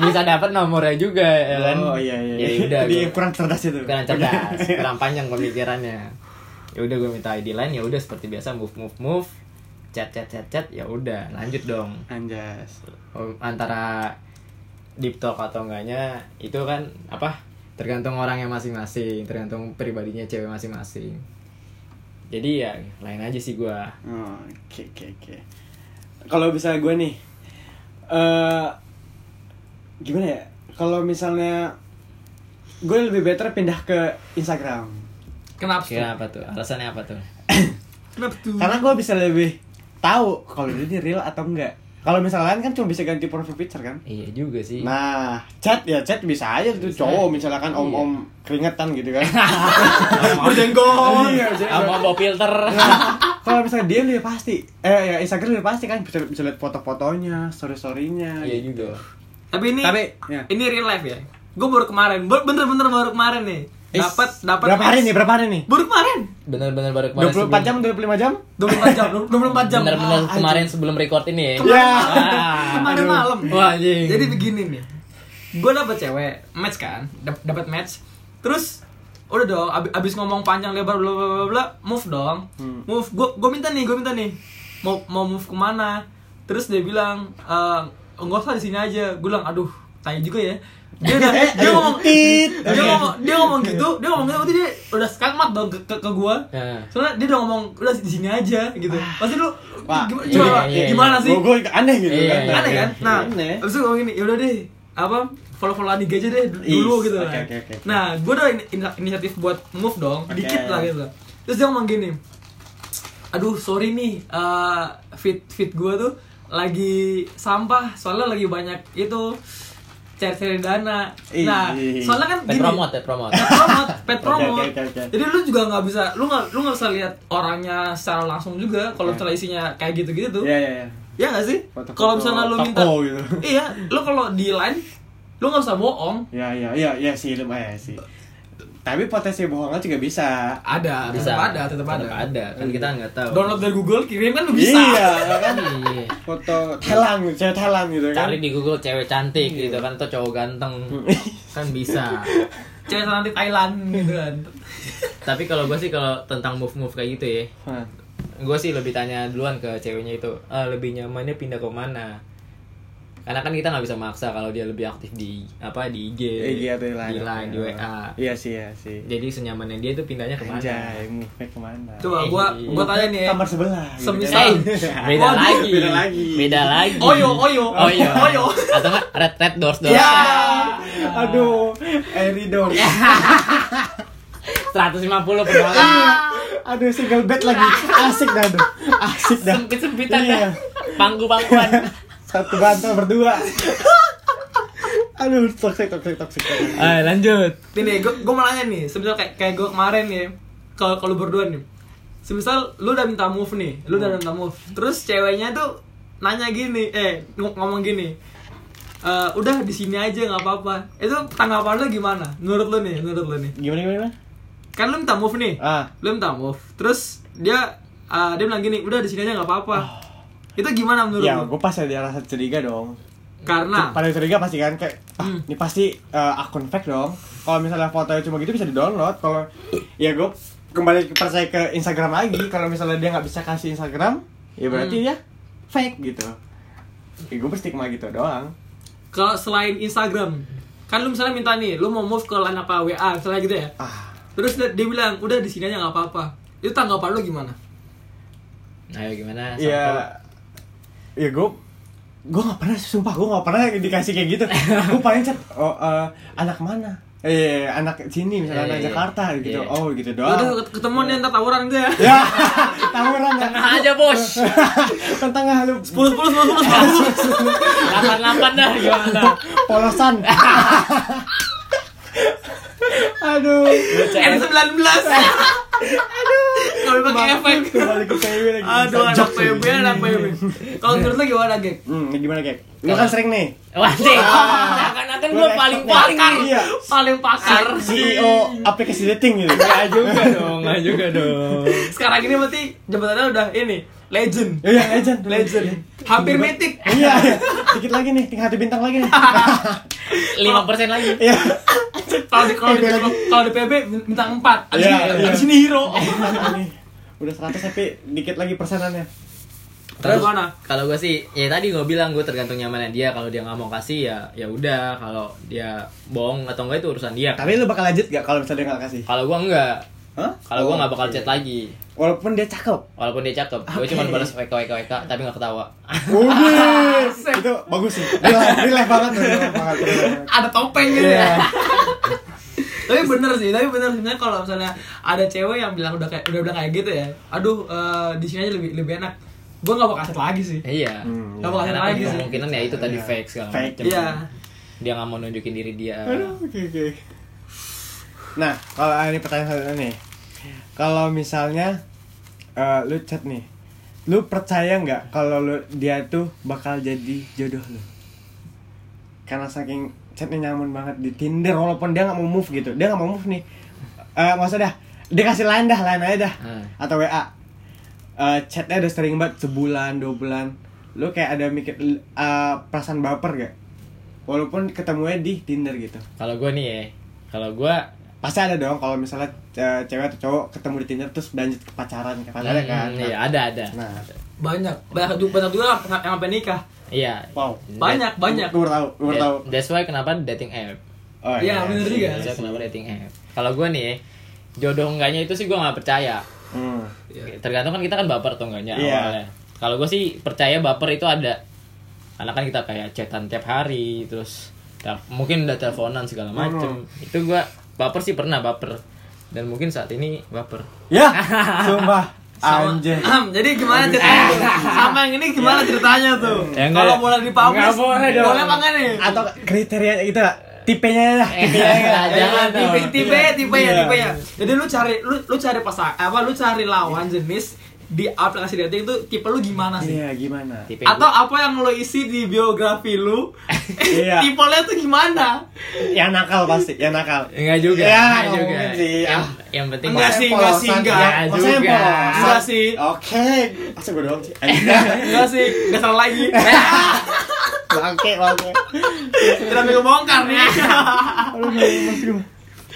Speaker 3: bisa dapat nomornya juga ya kan?
Speaker 1: Oh, iya iya.
Speaker 3: Ya udah.
Speaker 1: Jadi
Speaker 3: gua-
Speaker 1: kurang cerdas itu. [laughs]
Speaker 3: kurang cerdas kurang panjang pemikirannya ya udah gue minta ID lain ya udah seperti biasa move move move chat chat chat chat ya udah lanjut dong
Speaker 1: Anjas.
Speaker 3: Oh, antara deep talk atau enggaknya itu kan apa tergantung orangnya masing-masing tergantung pribadinya cewek masing-masing jadi ya lain aja sih gue
Speaker 1: Oh, Oke oke oke. Kalau misalnya gue nih, eh gimana ya? Kalau misalnya gue lebih better pindah ke Instagram
Speaker 2: Kenapa
Speaker 1: Iya.
Speaker 2: tuh?
Speaker 3: Kira apa tuh? Alasannya apa tuh?
Speaker 2: Kenapa tuh?
Speaker 1: karena gue bisa lebih tahu kalau dia di real atau enggak kalau misalkan kan cuma bisa ganti profile picture kan
Speaker 3: Iya juga sih.
Speaker 1: Nah, chat ya chat bisa aja tuh
Speaker 3: Bisa. Iya.
Speaker 1: cowok misalkan om-om keringetan gitu
Speaker 3: [laughs]
Speaker 1: kan.
Speaker 2: Berjenggot.
Speaker 1: Iya, bisa.
Speaker 3: Sama bawa filter.
Speaker 1: Nah, [laughs] kalau misalnya dia lebih pasti, eh ya Instagram lebih pasti kan bisa bisa lihat foto-fotonya, story-storynya.
Speaker 3: Iya
Speaker 2: gitu.
Speaker 3: juga.
Speaker 2: Tapi ini
Speaker 1: Tapi, ya.
Speaker 2: ini real life ya. Gue baru kemarin, ber- bener-bener baru kemarin nih.
Speaker 1: Is,
Speaker 2: Dapat dapat
Speaker 1: berapa hari nih? Berapa hari nih?
Speaker 2: Baru kemarin.
Speaker 3: Bener-bener baru kemarin.
Speaker 1: 24 jam, 25 jam?
Speaker 2: 24 jam, 24 jam.
Speaker 3: Bener-bener
Speaker 2: Ah,
Speaker 3: kemarin sebelum record ini ya.
Speaker 1: Iya.
Speaker 2: Ah, kemarin
Speaker 1: Aduh.
Speaker 2: malam.
Speaker 3: Wah, anjing.
Speaker 2: Jadi begini nih. Gue dapet cewek, match kan? Dap- Dapet match. Terus udah dong ab- abis ngomong panjang lebar bla bla bla bla move dong
Speaker 1: Hmm.
Speaker 2: move gue gue minta nih gue minta nih mau mau move kemana terus dia bilang eh enggak usah di sini aja gue bilang aduh tanya juga ya dia udah dia ngomong
Speaker 1: Tit.
Speaker 2: dia ngomong dia ngomong gitu dia ngomong gitu berarti dia udah skakmat dong ke, ke, ke gue
Speaker 3: Nah.
Speaker 2: soalnya dia udah ngomong udah di sini aja gitu pasti lu
Speaker 1: Ah. Wah,
Speaker 2: gimana,
Speaker 3: iya,
Speaker 2: coba,
Speaker 3: iya, iya.
Speaker 2: gimana sih
Speaker 1: Gue aneh gitu
Speaker 3: Iya,
Speaker 1: kan.
Speaker 3: iya,
Speaker 2: aneh kan? Nah,
Speaker 1: Aneh.
Speaker 2: abis itu gue gini, yaudah deh, apa follow follow Aniga aja deh du-
Speaker 1: Is,
Speaker 2: dulu gitu
Speaker 1: oke,
Speaker 2: kan.
Speaker 1: oke, oke.
Speaker 2: Nah, gue udah in- in- inisiatif buat move dong,
Speaker 1: Oke.
Speaker 2: dikit lah gitu. Terus dia ngomong gini, aduh sorry nih, eh, fit fit gue tuh lagi sampah, soalnya lagi banyak itu cari-cari dana.
Speaker 1: Ih,
Speaker 2: Nah,
Speaker 1: ih, ih.
Speaker 2: soalnya kan
Speaker 3: Pet
Speaker 2: gini.
Speaker 3: promote, ya, pet promote.
Speaker 2: Pet promote, Oh, pet
Speaker 1: Oke,
Speaker 2: promote.
Speaker 1: oke, oke, oke.
Speaker 2: Jadi lu juga nggak bisa, lu nggak lu nggak bisa lihat orangnya secara langsung juga. Kalau
Speaker 1: Oke.
Speaker 2: misalnya isinya kayak gitu-gitu tuh,
Speaker 1: Iya, iya, iya.
Speaker 2: Ya gak sih?
Speaker 1: Foto-foto
Speaker 2: Kalau misalnya lu
Speaker 1: toko
Speaker 2: minta
Speaker 1: gitu.
Speaker 2: Iya, lu kalau di line lu gak usah bohong.
Speaker 1: Ya, ya, ya, ya sih lumayan sih. Tapi potensi bohongnya juga bisa.
Speaker 2: Ada,
Speaker 3: Bisa.
Speaker 2: tetap ada, tetap ada. Iya.
Speaker 3: Tetap ada. Kan kita nggak tahu.
Speaker 2: Download dari Google, kirim kan lu bisa.
Speaker 1: Iya, kan?
Speaker 3: Iya.
Speaker 1: Foto telang, cewek telang gitu kan.
Speaker 3: Cari di Google cewek cantik
Speaker 2: Iya.
Speaker 3: gitu kan atau cowok ganteng. Kan bisa.
Speaker 2: Cewek nanti Thailand gitu kan.
Speaker 3: Tapi kalau gue sih kalau tentang move-move kayak gitu ya,
Speaker 1: [laughs] Hah.
Speaker 3: gue sih lebih tanya duluan ke ceweknya itu "Ah, lebih nyamannya pindah ke mana karena kan kita nggak bisa maksa kalau dia lebih aktif di apa di IG,
Speaker 1: IG atau
Speaker 3: Iya, di
Speaker 1: di lain.
Speaker 3: Line, di WA
Speaker 1: gitu, Iya sih, iya sih.
Speaker 3: jadi senyamannya dia itu pindahnya kemana
Speaker 1: Anjay, move-nya kemana?
Speaker 2: Coba gua gua
Speaker 3: Iya.
Speaker 2: tanya nih ya.
Speaker 1: Kamar sebelah. gitu
Speaker 2: Semisal.
Speaker 1: [laughs]
Speaker 2: [laughs]
Speaker 3: Eh, beda
Speaker 2: Waduh,
Speaker 3: lagi
Speaker 1: beda lagi.
Speaker 3: beda lagi
Speaker 2: Oyo, oyo.
Speaker 3: oh iya
Speaker 2: Oyo.
Speaker 3: atau nggak red red doors doors
Speaker 2: Ya.
Speaker 1: kan. [laughs] Aduh, Eridor.
Speaker 3: 150 per malam
Speaker 1: [laughs] Aduh, single bed lagi. Asik dah, aduh. Asik dah.
Speaker 3: sempit sempitan
Speaker 1: Iya.
Speaker 3: dah pangku pangkuan
Speaker 1: Satu bantal berdua. [laughs] Aduh, toxic, toxic, toxic.
Speaker 3: Ayo lanjut
Speaker 2: Nih, nih, gua, gua mau nanya nih, semisal kayak kayak gua kemarin ya. Kalau kalau berdua nih. Semisal lu udah minta move nih, lu udah minta move. Terus ceweknya tuh nanya gini, eh ng- ngomong gini. "Eh, udah di sini aja nggak apa-apa. Itu tanggapan lu gimana? Menurut lu nih, menurut lu nih.
Speaker 1: Gimana, gimana?
Speaker 2: Kan lu minta move nih.
Speaker 1: Ah.
Speaker 2: Lu minta move. Terus dia eh, dia bilang gini, udah di sini aja nggak apa-apa. Itu gimana menurut
Speaker 1: Ya,
Speaker 2: lu?
Speaker 1: gue pasti ada rasa curiga dong.
Speaker 2: Karena
Speaker 1: Pada curiga pasti kan kayak ah,
Speaker 2: Ah. Hmm.
Speaker 1: ini pasti eh, akun fake dong. Kalau misalnya fotonya cuma gitu bisa di-download. Kalau ya gue kembali ke- percaya ke Instagram lagi. Kalau misalnya dia nggak bisa kasih Instagram, ya berarti
Speaker 2: Hmm.
Speaker 1: ya fake gitu. Ya, gue berstigma gitu doang.
Speaker 2: kalau selain Instagram, kan lu misalnya minta nih, lu mau move ke line apa WA misalnya gitu ya.
Speaker 1: Ah,
Speaker 2: Terus dia, dia bilang, udah di sini aja nggak apa-apa. Itu tanggapan lu gimana?
Speaker 3: ayo gimana
Speaker 1: ya, ya gue gue nggak pernah sumpah gue nggak pernah dikasih kayak gitu. gue paling chat oh, eh, anak mana? Eh anak sini misalnya anak
Speaker 3: Eh,
Speaker 1: Jakarta gitu.
Speaker 3: iya.
Speaker 1: Oh gitu doang.
Speaker 2: Udah ket- ketemu nih ntar tawuran gitu
Speaker 1: [laughs]
Speaker 2: ya.
Speaker 1: Ya, tawuran ya.
Speaker 3: Tengah aja bos
Speaker 1: Tentang lu
Speaker 2: Pulus pulus pulus pulus pulus.
Speaker 3: 88 dah gimana
Speaker 1: polosan [laughs] aduh
Speaker 2: N 19 Aduh, kalau pakai efek.
Speaker 1: kembali ke PB lagi
Speaker 2: Aduh, anak PB, anak PB. Kalau menurut lu gimana, Gek?
Speaker 1: hmm gimana kek lu kan sering nih
Speaker 3: Waduh, seakan-akan gue paling pakar.
Speaker 1: iya
Speaker 2: Paling pakar.
Speaker 1: CEO aplikasi dating gitu
Speaker 3: Nggak juga dong, nggak juga dong.
Speaker 2: Sekarang ini berarti jabatannya udah ini, legend.
Speaker 1: iya legend
Speaker 2: Legend. Hampir mythic.
Speaker 1: iya iya. dikit lagi nih tinggal satu bintang lagi nih
Speaker 3: Lima persen lagi.
Speaker 1: iya
Speaker 2: Kalau di kalau di kalau di PB bintang 4. Abis
Speaker 1: Iya,
Speaker 2: ini
Speaker 1: iya.
Speaker 2: abis ini hero.
Speaker 1: Nih, udah 100 tapi dikit lagi persenannya
Speaker 2: Terus mana?
Speaker 3: Kalau gue sih, ya tadi gue bilang gue tergantung nyamannya dia. Kalau dia nggak mau kasih ya, ya udah. Kalau dia bohong atau enggak itu urusan dia.
Speaker 1: tapi lu bakal lanjut gak kalau misalnya dia gak kasih?
Speaker 3: Kalau gue enggak,
Speaker 1: Hah?
Speaker 3: kalau gue nggak bakal chat lagi.
Speaker 1: Walaupun dia cakep
Speaker 3: Walaupun dia cakep, gue
Speaker 1: Oke.
Speaker 3: cuma balas WK WK WK, tapi nggak ketawa. [laughs]
Speaker 1: Wih, itu
Speaker 2: Iya.
Speaker 1: bagus sih. Relay, relay banget tuh. relay banget, relay banget.
Speaker 2: Ada topeng gitu
Speaker 1: Iya.
Speaker 2: ya. tapi bener sih tapi bener sebenarnya kalau misalnya ada cewek yang bilang udah kayak udah bilang kayak gitu ya aduh eh, di sini aja lebih lebih enak gue nggak mau kaset lagi sih
Speaker 3: Iya.
Speaker 1: Hmm,
Speaker 2: Gak bakal
Speaker 3: Karena
Speaker 2: lagi sih.
Speaker 3: kemungkinan ya itu tadi
Speaker 1: Iya.
Speaker 3: fake segala
Speaker 1: Fake.
Speaker 3: macam.
Speaker 2: Iya.
Speaker 3: Dia nggak mau nunjukin diri dia.
Speaker 1: Aduh, oke oke. Nah, kalau ini pertanyaan selanjutnya nih. Kalau misalnya eh, lu chat nih, lu percaya nggak kalau lu dia tuh bakal jadi jodoh lu? Karena saking chatnya nyaman banget di Tinder walaupun dia nggak mau move gitu. Dia nggak mau move nih. Eh maksudnya dah, dia kasih lain dah, lain aja dah.
Speaker 3: Hmm.
Speaker 1: Atau WA. Eh chatnya udah sering banget sebulan, dua bulan. Lu kayak ada mikir eh, perasaan baper gak? Walaupun ketemunya di Tinder gitu.
Speaker 3: Kalau gue nih ya, kalau gue
Speaker 1: pasti ada dong kalau misalnya eh, cewek atau cowok ketemu di Tinder terus lanjut ke pacaran ke pacaran kan
Speaker 3: Hmm, Iya ada ada.
Speaker 1: nah
Speaker 2: banyak banyak juga banyak juga yang yang sampai nikah
Speaker 3: Iya.
Speaker 1: wow
Speaker 2: banyak banyak
Speaker 1: gue tahu gue
Speaker 3: That-
Speaker 1: tahu
Speaker 3: That's why kenapa dating app.
Speaker 1: oh,
Speaker 2: Iya, bener
Speaker 1: sih.
Speaker 2: juga.
Speaker 3: That's why kenapa dating app. Kalau gue nih, ya, jodoh enggaknya itu sih gue nggak percaya.
Speaker 1: hmm.
Speaker 2: Iya.
Speaker 3: Tergantung kan kita kan baper tuh enggaknya
Speaker 1: Iya.
Speaker 3: awalnya. Kalau gue sih percaya baper itu ada. Karena kan kita kayak chatan tiap hari, terus tel- mungkin udah teleponan segala
Speaker 2: Hmm.
Speaker 3: macem. Itu gue baper sih pernah baper. Dan mungkin saat ini baper.
Speaker 1: ya sumpah anjir
Speaker 2: Am, jadi gimana ceritanya tuh? sama yang ini gimana ceritanya tuh
Speaker 3: Eh. Ya, enggak.
Speaker 2: kalau boleh dipublish
Speaker 3: Enggak boleh dong.
Speaker 2: boleh apa enggak nih
Speaker 1: atau kriteria itu lah tipenya ya. lah
Speaker 3: Eh,
Speaker 1: tipenya
Speaker 2: iya,
Speaker 1: lah.
Speaker 3: jangan dong.
Speaker 2: tipe tipe ya tipe ya
Speaker 1: Iya.
Speaker 2: tipe ya jadi lu cari lu lu cari pasang apa lu cari lawan jenis di aplikasi dating itu tipe lu gimana sih
Speaker 1: iya gimana
Speaker 3: Tipe
Speaker 2: atau apa yang lo isi di biografi lu
Speaker 1: [laughs] Iya.
Speaker 2: tipe lu tuh gimana
Speaker 1: yang Ya, nakal pasti yang nakal
Speaker 3: Enggak juga.
Speaker 1: Ya,
Speaker 3: enggak
Speaker 1: nggak
Speaker 3: juga.
Speaker 1: mungkin sih.
Speaker 3: Yang,
Speaker 1: Ah.
Speaker 3: yang penting
Speaker 2: Iya, Enggak
Speaker 1: Maksudnya
Speaker 2: sih, enggak
Speaker 1: polosan.
Speaker 2: sih, enggak.
Speaker 1: Ya, maksudnya
Speaker 3: Juga.
Speaker 1: polosan.
Speaker 2: Enggak sih.
Speaker 1: oke pasti gue doang sih [laughs]
Speaker 2: enggak sih enggak salah lagi
Speaker 1: oke oke
Speaker 2: kita mau bongkar
Speaker 1: [laughs]
Speaker 2: nih
Speaker 1: aduh mas gue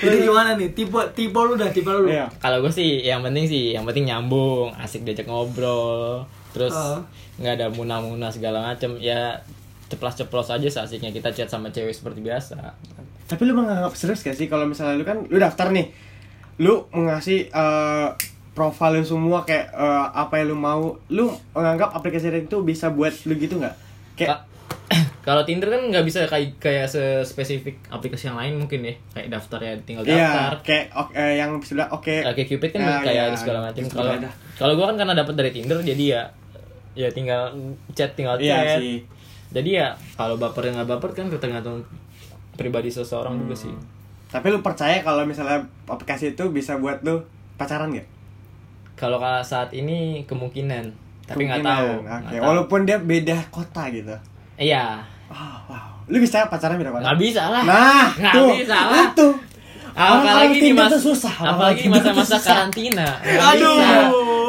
Speaker 2: jadi gimana nih tipe tipe lu dah tipe lu
Speaker 1: iya
Speaker 3: Kalau gue sih yang penting sih yang penting nyambung, asik diajak ngobrol, terus
Speaker 2: Oh.
Speaker 3: nggak ada muna-muna segala macem ya ceplos-ceplos aja seasiknya kita chat sama cewek seperti biasa.
Speaker 1: Tapi lu menganggap serius gak sih kalau misalnya lu kan lu daftar nih. Lu ngasih eh, profile lu semua kayak eh, apa yang lu mau. Lu menganggap aplikasi dating itu bisa buat lu gitu nggak? Kayak
Speaker 3: Ka- [coughs] Kalau Tinder kan nggak bisa kayak kayak sespesifik aplikasi yang lain mungkin ya, kayak daftar ya tinggal daftar.
Speaker 1: Iya, kayak ok- eh, yang sudah oke.
Speaker 3: Kayak Cupid kan
Speaker 1: Ah,
Speaker 3: kayak
Speaker 1: iya.
Speaker 3: ada segala macam.
Speaker 1: Itu
Speaker 3: Kalau
Speaker 1: beda.
Speaker 3: kalau gue kan karena dapat dari Tinder jadi ya ya tinggal chat tinggal
Speaker 1: Iya
Speaker 3: chat.
Speaker 1: sih.
Speaker 3: Jadi ya kalau baper yang nggak baper kan tergantung pribadi seseorang juga sih.
Speaker 1: Tapi lu percaya kalau misalnya aplikasi itu bisa buat lu pacaran gak?
Speaker 3: Kalau ka- saat ini kemungkinan, tapi nggak tahu.
Speaker 1: Kemungkinan. Oke,
Speaker 3: nggak tahu.
Speaker 1: walaupun dia beda kota gitu.
Speaker 3: Iya,
Speaker 1: Ah, wow. Lu bisa pacaran beda kota?
Speaker 3: nggak bisa lah.
Speaker 1: Nah,
Speaker 3: [laughs] nggak
Speaker 1: tuh,
Speaker 3: bisa lah.
Speaker 1: itu. Orang-orang
Speaker 3: Apalagi di
Speaker 1: Tinder
Speaker 3: masa
Speaker 1: tuh susah. orang-orang
Speaker 3: apalagi di
Speaker 1: Tinder tuh
Speaker 3: masa-masa
Speaker 1: susah.
Speaker 3: karantina.
Speaker 2: Aduh.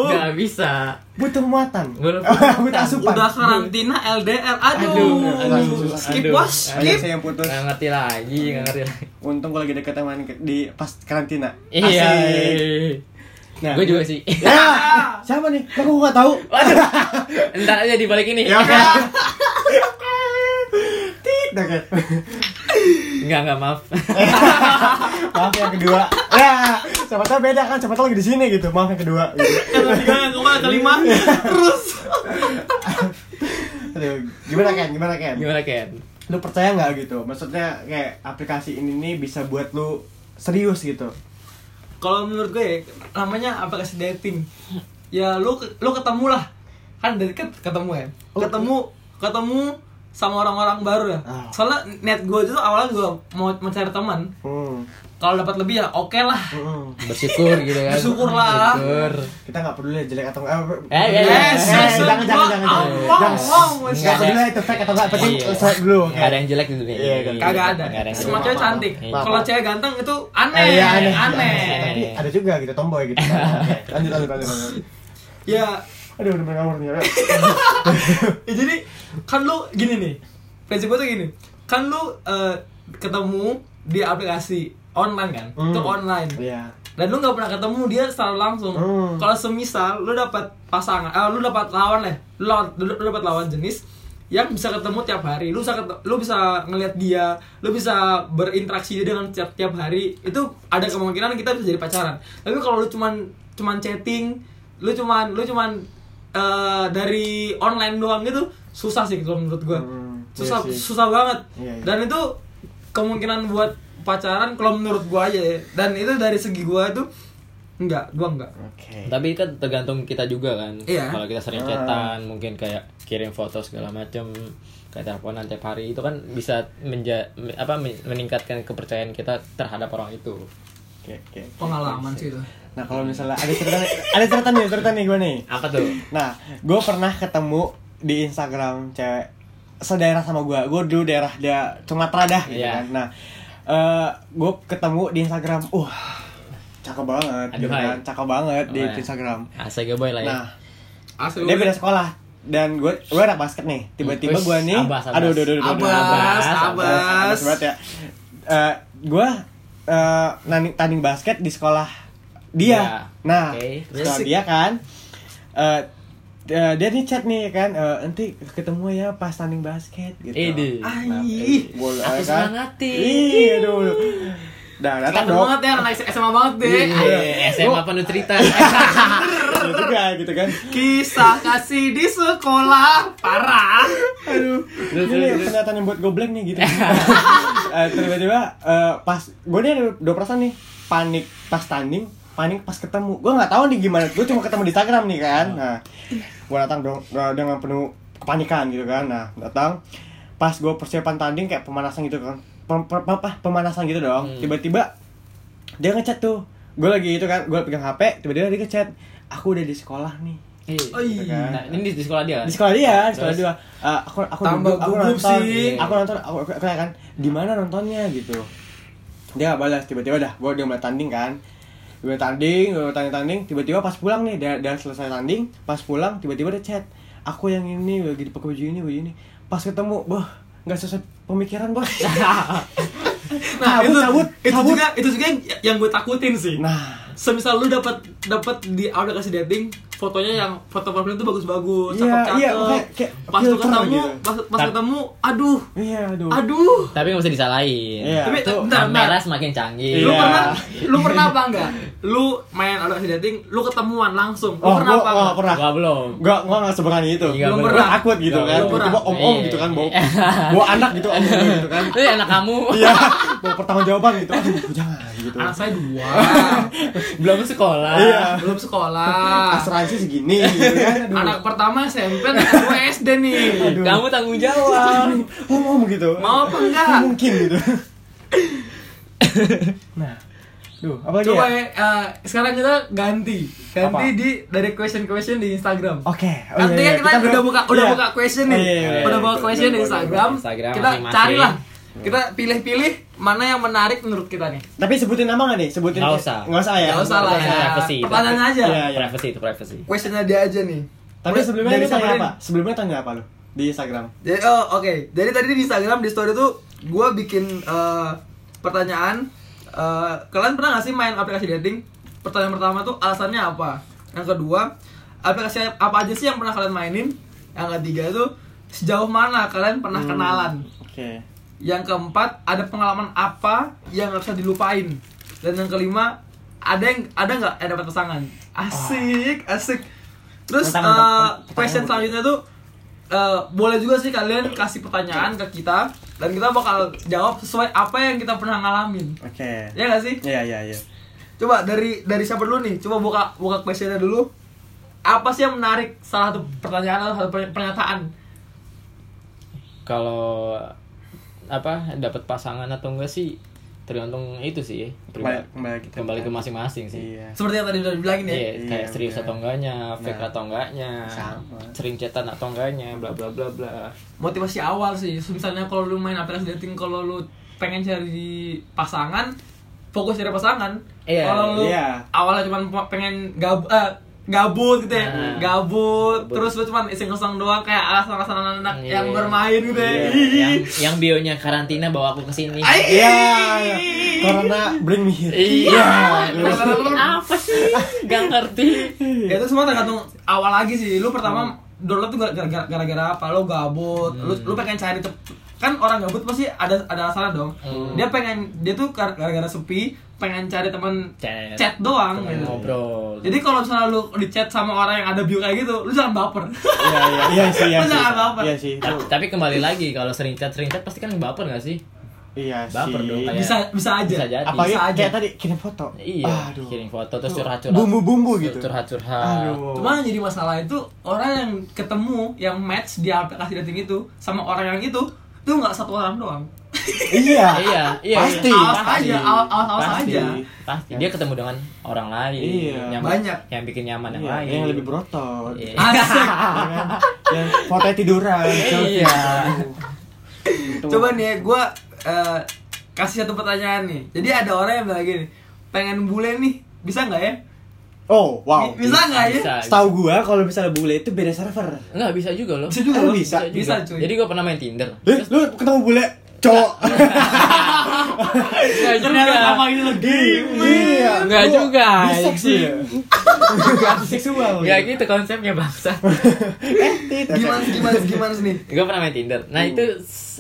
Speaker 3: nggak bisa.
Speaker 1: butuh muatan [laughs]
Speaker 3: Butuh
Speaker 1: butuh
Speaker 3: muatan.
Speaker 1: asupan
Speaker 2: udah karantina LDR aduh,
Speaker 1: Aduh, aduh,
Speaker 2: skip
Speaker 3: aduh,
Speaker 2: bos
Speaker 3: aduh.
Speaker 1: banyak
Speaker 2: skip
Speaker 1: sih yang putus
Speaker 3: Nggak ngerti lagi, nggak ngerti lagi.
Speaker 1: untung gue lagi deket teman di pas karantina
Speaker 3: Iya.
Speaker 1: Asik. nah
Speaker 3: Gue juga sih. [laughs]
Speaker 1: ya siapa nih kok gue gak tahu
Speaker 3: Waduh. Entar aja di balik ini.
Speaker 1: ya oke tit oke
Speaker 3: Enggak, enggak maaf. [laughs]
Speaker 1: maaf yang kedua ya siapa tahu beda kan siapa tahu lagi di sini gitu maaf yang kedua gitu.
Speaker 2: yang ketiga yang keempat yang
Speaker 1: [laughs]
Speaker 2: kelima terus
Speaker 1: Aduh, gimana kan gimana kan
Speaker 3: Gimana Ken?
Speaker 1: lu percaya nggak gitu maksudnya kayak aplikasi ini nih bisa buat lu serius gitu
Speaker 2: kalau menurut gue ya, namanya aplikasi dating ya lu lu ketemu lah kan dari ket- ketemu ya ketemu ketemu sama orang-orang baru ya
Speaker 1: Ah.
Speaker 2: soalnya net gue itu awalnya gue mau mencari teman
Speaker 1: hmm.
Speaker 2: kalau dapat lebih ya oke lah
Speaker 1: hmm.
Speaker 3: Bersyukur gitu kan.
Speaker 2: Bersyukurlah.
Speaker 3: Bersyukur.
Speaker 1: kita nggak peduli jelek atau enggak
Speaker 3: Eh, eh, eh,
Speaker 1: jangan jangan
Speaker 2: season
Speaker 1: jangan
Speaker 2: dua,
Speaker 1: jangan
Speaker 2: awang,
Speaker 1: jangan
Speaker 2: awang,
Speaker 1: Nggak
Speaker 2: season
Speaker 1: peduli itu fake atau enggak penting
Speaker 3: Iya.
Speaker 1: swipe dulu
Speaker 3: Nggak ada yang jelek di dunia
Speaker 1: Iya,
Speaker 3: ini.
Speaker 2: kagak ada
Speaker 3: Nggak yang Iya.
Speaker 2: semua
Speaker 1: Maaf,
Speaker 2: cewek
Speaker 1: maaf,
Speaker 2: cantik
Speaker 1: maaf.
Speaker 2: kalau cewek ganteng itu aneh
Speaker 1: Eh, iya, aneh.
Speaker 2: aneh
Speaker 1: tapi ada juga gitu tomboy
Speaker 3: [laughs]
Speaker 1: gitu Oke, lanjut lanjut lanjut lanjut. iya,
Speaker 2: ya
Speaker 1: aduh udah mulai ngawur nih aduh.
Speaker 2: Ya, [laughs] jadi kan lu gini nih prinsip gue tuh gini kan lu eh, ketemu di aplikasi online kan itu
Speaker 1: Hmm.
Speaker 2: online
Speaker 1: iya
Speaker 2: dan lu nggak pernah ketemu dia secara langsung
Speaker 1: Hmm.
Speaker 2: kalau semisal lu dapat pasangan eh, lu dapat lawan lah lu, lawan- lu, lu dapat lawan jenis yang bisa ketemu tiap hari lu bisa ketem- lu bisa ngelihat dia lu bisa berinteraksi dia dengan tiap tiap hari itu ada kemungkinan kita bisa jadi pacaran tapi kalau lu cuman cuman chatting lu cuman lu cuman eh, dari online doang gitu susah sih kalau menurut gua
Speaker 1: Hmm, iya
Speaker 2: susah
Speaker 1: sih.
Speaker 2: susah banget
Speaker 1: Iya, iya.
Speaker 2: dan itu kemungkinan buat pacaran kalau menurut gua aja ya. dan itu dari segi gua itu enggak gua enggak
Speaker 1: Oke.
Speaker 3: Tapi kan tergantung kita juga kan.
Speaker 2: Iya.
Speaker 3: Kalau kita sering
Speaker 1: Ah.
Speaker 3: chatan, mungkin kayak kirim foto segala macam, kayak teleponan tiap hari itu kan bisa menja me- apa men- meningkatkan kepercayaan kita terhadap orang itu.
Speaker 1: Oke, oke.
Speaker 2: pengalaman sih itu
Speaker 1: Nah, kalau misalnya ada cerita ada cerita nih, cerita nih gue nih.
Speaker 3: Apa tuh?
Speaker 1: Nah, gue pernah ketemu di Instagram cewek sedaerah sama gue. Gue dulu daerah dia Sumatera dah gitu
Speaker 3: Iya.
Speaker 1: kan. Nah, eh gue ketemu di Instagram. Wah, cakep banget.
Speaker 3: Aduh,
Speaker 1: gitu
Speaker 3: hai. Oh, iya.
Speaker 1: kan. Cakep banget di
Speaker 3: Wah.
Speaker 1: Instagram.
Speaker 3: Asal gue boy lah ya.
Speaker 1: Nah,
Speaker 2: asli
Speaker 1: dia beda sekolah dan gue gue anak basket nih. Tiba-tiba
Speaker 3: Wis,
Speaker 1: gue nih.
Speaker 3: abas, abas.
Speaker 1: Aduh, aduh, aduh, aduh, aduh,
Speaker 2: abas abas
Speaker 1: abas banget ya. Eh, gue eh, nani- tanding basket di sekolah dia.
Speaker 3: Iya.
Speaker 1: Nah,
Speaker 3: Oke, terus?
Speaker 1: sekolah dia kan. eh, eh, dia nih chat nih kan, eh, nanti ketemu ya pas tanding basket gitu.
Speaker 3: Ede.
Speaker 1: Nah,
Speaker 2: Ih,
Speaker 1: eh, bola ya
Speaker 3: aku semangatin.
Speaker 1: Ih, aduh. aduh. Dah, datang
Speaker 2: Kelihatan
Speaker 1: dong.
Speaker 2: banget ya anak SMA banget deh
Speaker 3: Eh, SMA penuh
Speaker 1: [laughs]
Speaker 3: cerita.
Speaker 1: Iya juga gitu kan.
Speaker 2: kisah kasih di sekolah parah
Speaker 1: Aduh,
Speaker 3: Terus,
Speaker 1: ini
Speaker 3: terus, terus.
Speaker 1: kelihatan yang buat goblok nih
Speaker 3: [laughs]
Speaker 1: gitu. Eh, tiba-tiba eh, pas gue nih ada dua perasaan nih, panik pas tanding, panik pas ketemu. Gue nggak tahu nih gimana. Gue cuma ketemu di Instagram nih kan.
Speaker 3: Oh.
Speaker 1: Nah, gue datang dong eh, dengan penuh kepanikan gitu kan. Nah, datang pas gue persiapan tanding kayak pemanasan gitu kan. Pem- pem- apa, pemanasan gitu dong.
Speaker 3: Hmm.
Speaker 1: Tiba-tiba dia ngechat tuh. Gue lagi itu kan, gue pegang HP, tiba-tiba dia ngechat. Aku udah di sekolah nih.
Speaker 3: Eh,
Speaker 2: Oi.
Speaker 1: Gitu kan.
Speaker 3: Nah, ini di, di sekolah dia kan?
Speaker 1: di sekolah dia di sekolah
Speaker 3: Terus?
Speaker 1: dia Eh, aku aku
Speaker 2: Tambah
Speaker 1: duduk, aku
Speaker 2: gugup
Speaker 1: nonton Iya.
Speaker 2: sih.
Speaker 1: aku nonton aku, aku, aku kan di mana nontonnya gitu dia gak balas tiba-tiba dah gua udah mulai tanding kan gue tanding gue tanding tanding tiba-tiba pas pulang nih dia, dia selesai tanding pas pulang tiba-tiba dia chat aku yang ini lagi dipakai baju ini baju ini pas ketemu boh nggak sesuai pemikiran bos
Speaker 2: nah
Speaker 1: Cabut,
Speaker 2: itu
Speaker 1: cabut,
Speaker 2: itu
Speaker 1: cabut.
Speaker 2: juga itu juga yang, yang gue takutin
Speaker 1: [laughs]
Speaker 2: sih
Speaker 1: nah
Speaker 2: semisal lu dapat dapat di aplikasi dating fotonya yang foto profilnya tuh bagus-bagus,
Speaker 1: Iya,
Speaker 2: cakep-cakep.
Speaker 1: iya, makanya kayak
Speaker 2: pas lu
Speaker 1: filter
Speaker 2: ketemu,
Speaker 1: gitu.
Speaker 2: pas, pas
Speaker 3: Tapi-
Speaker 2: ketemu, aduh,
Speaker 1: iya aduh
Speaker 2: aduh.
Speaker 3: Tapi nggak bisa disalahin.
Speaker 1: Iya.
Speaker 2: Tapi
Speaker 1: tuh,
Speaker 2: bentar,
Speaker 3: Nah,
Speaker 2: bentar.
Speaker 3: merah semakin canggih.
Speaker 2: Lu
Speaker 1: Iya.
Speaker 2: pernah lu pernah
Speaker 1: [laughs]
Speaker 2: apa enggak? Lu main aplikasi dating, lu ketemuan langsung. Lu
Speaker 1: oh
Speaker 2: pernah
Speaker 1: gua
Speaker 2: apa
Speaker 1: gua
Speaker 2: enggak?
Speaker 1: nggak pernah
Speaker 3: Gua belum.
Speaker 1: Gak, gua gak seberani itu
Speaker 3: Iya,
Speaker 1: Gua
Speaker 2: belum pernah.
Speaker 1: takut gitu
Speaker 3: Belum
Speaker 1: kan
Speaker 2: pernah. Iya.
Speaker 1: Tiba-tiba om-om gitu kan
Speaker 2: [laughs]
Speaker 1: Bawa, bawa anak gitu om gitu kan
Speaker 3: Itu Eh, anak kamu.
Speaker 1: Iya, bawa pertanggungjawaban gitu Aduh, jangan gitu
Speaker 2: Anak saya
Speaker 1: [laughs]
Speaker 2: dua,
Speaker 3: Belum sekolah.
Speaker 1: Iya.
Speaker 2: belum sekolah.
Speaker 1: Asuransi segini gitu
Speaker 2: [laughs]
Speaker 1: kan Aduh.
Speaker 2: Anak pertama SMP, anak kedua SD nih.
Speaker 1: Aduh.
Speaker 3: Kamu tanggung jawab.
Speaker 1: Om-om gitu
Speaker 2: Mau apa enggak?
Speaker 1: Nggak Mungkin
Speaker 2: [laughs]
Speaker 1: gitu Nah Duh, apa lagi
Speaker 2: Coba
Speaker 1: ya?
Speaker 2: ya, eh, sekarang kita ganti, ganti
Speaker 1: Apa?
Speaker 2: di dari question question di Instagram.
Speaker 1: Oke, oh
Speaker 2: Kan
Speaker 1: iya, iya,
Speaker 2: kita, udah
Speaker 1: belum-
Speaker 2: buka udah
Speaker 1: iya.
Speaker 2: buka
Speaker 1: Oh,
Speaker 2: question nih.
Speaker 1: iya, iya, iya.
Speaker 2: udah buka
Speaker 1: Betul,
Speaker 2: question di
Speaker 1: betul, betul.
Speaker 2: Instagram.
Speaker 3: Instagram
Speaker 2: kita
Speaker 3: masing-masing.
Speaker 2: carilah. Kita pilih-pilih mana yang menarik menurut kita nih.
Speaker 1: Tapi sebutin nama gak nih? Sebutin
Speaker 3: Nggak usah.
Speaker 1: Nggak usah ya?
Speaker 2: Gak usah lah
Speaker 3: kita
Speaker 2: ya.
Speaker 3: privacy,
Speaker 2: Pertanyaan
Speaker 3: tapi-
Speaker 2: aja.
Speaker 1: Iya, iya.
Speaker 3: Ya, Privacy itu privacy.
Speaker 2: Questionnya dia aja nih.
Speaker 1: Tapi
Speaker 2: Dari-
Speaker 1: sebelumnya lu
Speaker 2: dari
Speaker 1: tanya
Speaker 2: Samarin.
Speaker 1: apa? Sebelumnya tanya apa lu? Di Instagram
Speaker 2: Jadi oh oke. Jadi tadi di Instagram di story tuh gue bikin eh, pertanyaan. eh, kalian pernah gak sih main aplikasi dating? Pertanyaan pertama tuh alasannya apa? Yang kedua aplikasi apa aja sih yang pernah kalian mainin? Yang ketiga tuh sejauh mana kalian pernah kenalan?
Speaker 1: Oke
Speaker 2: Yang keempat ada pengalaman apa yang gak bisa dilupain? Dan yang kelima ada yang ada nggak yang dapat pasangan? Asik asik. Terus
Speaker 1: Mantap, mantap.
Speaker 2: eh,
Speaker 1: Pertanyaan
Speaker 2: question
Speaker 1: bagus.
Speaker 2: selanjutnya tuh eh, boleh juga sih kalian kasih pertanyaan ke kita dan kita bakal jawab sesuai apa yang kita pernah ngalamin.
Speaker 1: Oke
Speaker 2: Ya gak sih?
Speaker 1: Iya, iya, iya
Speaker 2: Coba dari dari siapa dulu nih? Coba buka buka questionnya dulu. Apa sih yang menarik salah satu pertanyaan atau salah satu pernyataan?
Speaker 3: Kalau apa dapat pasangan atau enggak sih tergantung itu sih.
Speaker 1: Kembali-
Speaker 3: priva-
Speaker 1: kembali kita-
Speaker 3: kembali ke masing-masing sih.
Speaker 1: Iya
Speaker 2: Seperti yang tadi udah dibilangin ya.
Speaker 3: Iya, kayak
Speaker 1: Iya,
Speaker 3: serius
Speaker 1: bener.
Speaker 3: atau enggaknya, fake
Speaker 1: Nah.
Speaker 3: atau enggaknya,
Speaker 1: Sama.
Speaker 3: sering chatan atau enggaknya, bla bla bla bla.
Speaker 2: motivasi awal sih misalnya kalau lu main aplikasi dating kalau lu pengen cari pasangan fokus cari pasangan
Speaker 3: Iya,
Speaker 2: kalau lu
Speaker 1: iya.
Speaker 2: awalnya cuma pengen gab eh, gabut gitu ya
Speaker 3: Nah.
Speaker 2: gabut
Speaker 3: Gabut.
Speaker 2: terus lu cuma iseng kosong doang kayak alasan-alasan anak
Speaker 3: Iya.
Speaker 2: Nah, yang bermain gitu ya
Speaker 1: Iya,
Speaker 3: yang yang bionya karantina bawa aku ke sini.
Speaker 2: Ai!
Speaker 1: Iya, karena bring me here.
Speaker 3: Iya.
Speaker 1: Iya.
Speaker 3: Apa sih? Gak ngerti.
Speaker 2: Ya, itu semua tergantung awal lagi sih lu
Speaker 3: Hmm.
Speaker 2: pertama download tuh gara- gara- gara-gara apa lu gabut lu lu pengen cari cep- kan orang gabut pasti ada ada alasan dong
Speaker 3: Hmm.
Speaker 2: dia pengen dia tuh gar- gara-gara sepi pengen cari teman
Speaker 3: Chat.
Speaker 2: chat doang
Speaker 3: Temen
Speaker 2: gitu.
Speaker 3: ngobrol.
Speaker 2: Jadi kalau misalnya lu di chat sama orang yang ada bio kayak gitu, lu jangan
Speaker 3: [laughs]
Speaker 2: baper.
Speaker 1: Iya, iya, iya sih, iya
Speaker 2: Lu
Speaker 1: sih.
Speaker 2: jangan baper.
Speaker 1: Iya sih.
Speaker 3: Ta-
Speaker 1: itu-
Speaker 3: tapi kembali lagi kalau sering chat sering chat pasti kan baper gak sih?
Speaker 1: Iya sih.
Speaker 3: Baper dong, kayak-
Speaker 2: Bisa bisa aja.
Speaker 3: Ya, Bisa jadi.
Speaker 1: Apalagi
Speaker 2: Bisa aja.
Speaker 1: kayak tadi kirim foto.
Speaker 3: Iya,
Speaker 1: Aduh.
Speaker 3: kirim foto terus curhat-curhat.
Speaker 1: Bumbu-bumbu gitu.
Speaker 3: Curhat-curhat.
Speaker 1: Aduh.
Speaker 2: Cuma yang jadi masalah itu orang yang ketemu yang match di aplikasi dating itu sama orang yang itu itu nggak satu orang
Speaker 3: [laughs]
Speaker 2: doang.
Speaker 1: iya.
Speaker 3: Iya, iya.
Speaker 1: Pasti.
Speaker 3: iya.
Speaker 2: Awas aja, awas- awas- awas
Speaker 3: Pasti.
Speaker 2: aja.
Speaker 3: Pasti dia ketemu dengan orang lain.
Speaker 1: Iya.
Speaker 3: Yang
Speaker 2: Banyak.
Speaker 3: yang bikin nyaman yang
Speaker 1: Iya,
Speaker 3: lain.
Speaker 1: yang lebih berotot.
Speaker 3: Iya.
Speaker 2: Asik.
Speaker 1: Ya kan? Yang foto tiduran. selfie.
Speaker 3: Iya.
Speaker 1: Aduh.
Speaker 2: Coba nih, gue kasih satu pertanyaan nih. Jadi ada orang yang bilang gini, pengen bule nih, bisa nggak ya?
Speaker 1: Oh, wow.
Speaker 2: Bisa nggak ya? [laughs]
Speaker 3: Bisa.
Speaker 1: Setahu gua kalau misalnya bule itu beda server.
Speaker 3: Enggak bisa juga loh.
Speaker 2: Bisa juga
Speaker 3: [laughs]
Speaker 1: Eh,
Speaker 2: loh.
Speaker 1: bisa.
Speaker 2: Bisa, cuy.
Speaker 3: Jadi gue pernah main
Speaker 1: [laughs]
Speaker 3: Tinder.
Speaker 1: Eh, lu ketemu bule cowok.
Speaker 3: Enggak
Speaker 2: Ternyata sama gitu loh, gay.
Speaker 1: Iya.
Speaker 3: Nggak
Speaker 1: lu
Speaker 3: juga,
Speaker 1: Biseks lu ya? Seksual.
Speaker 3: Enggak gitu konsepnya bangsa. [laughs]
Speaker 1: Eh, tidak.
Speaker 2: Gimana gimana gimana nih?
Speaker 3: gue pernah main Tinder. Nah, itu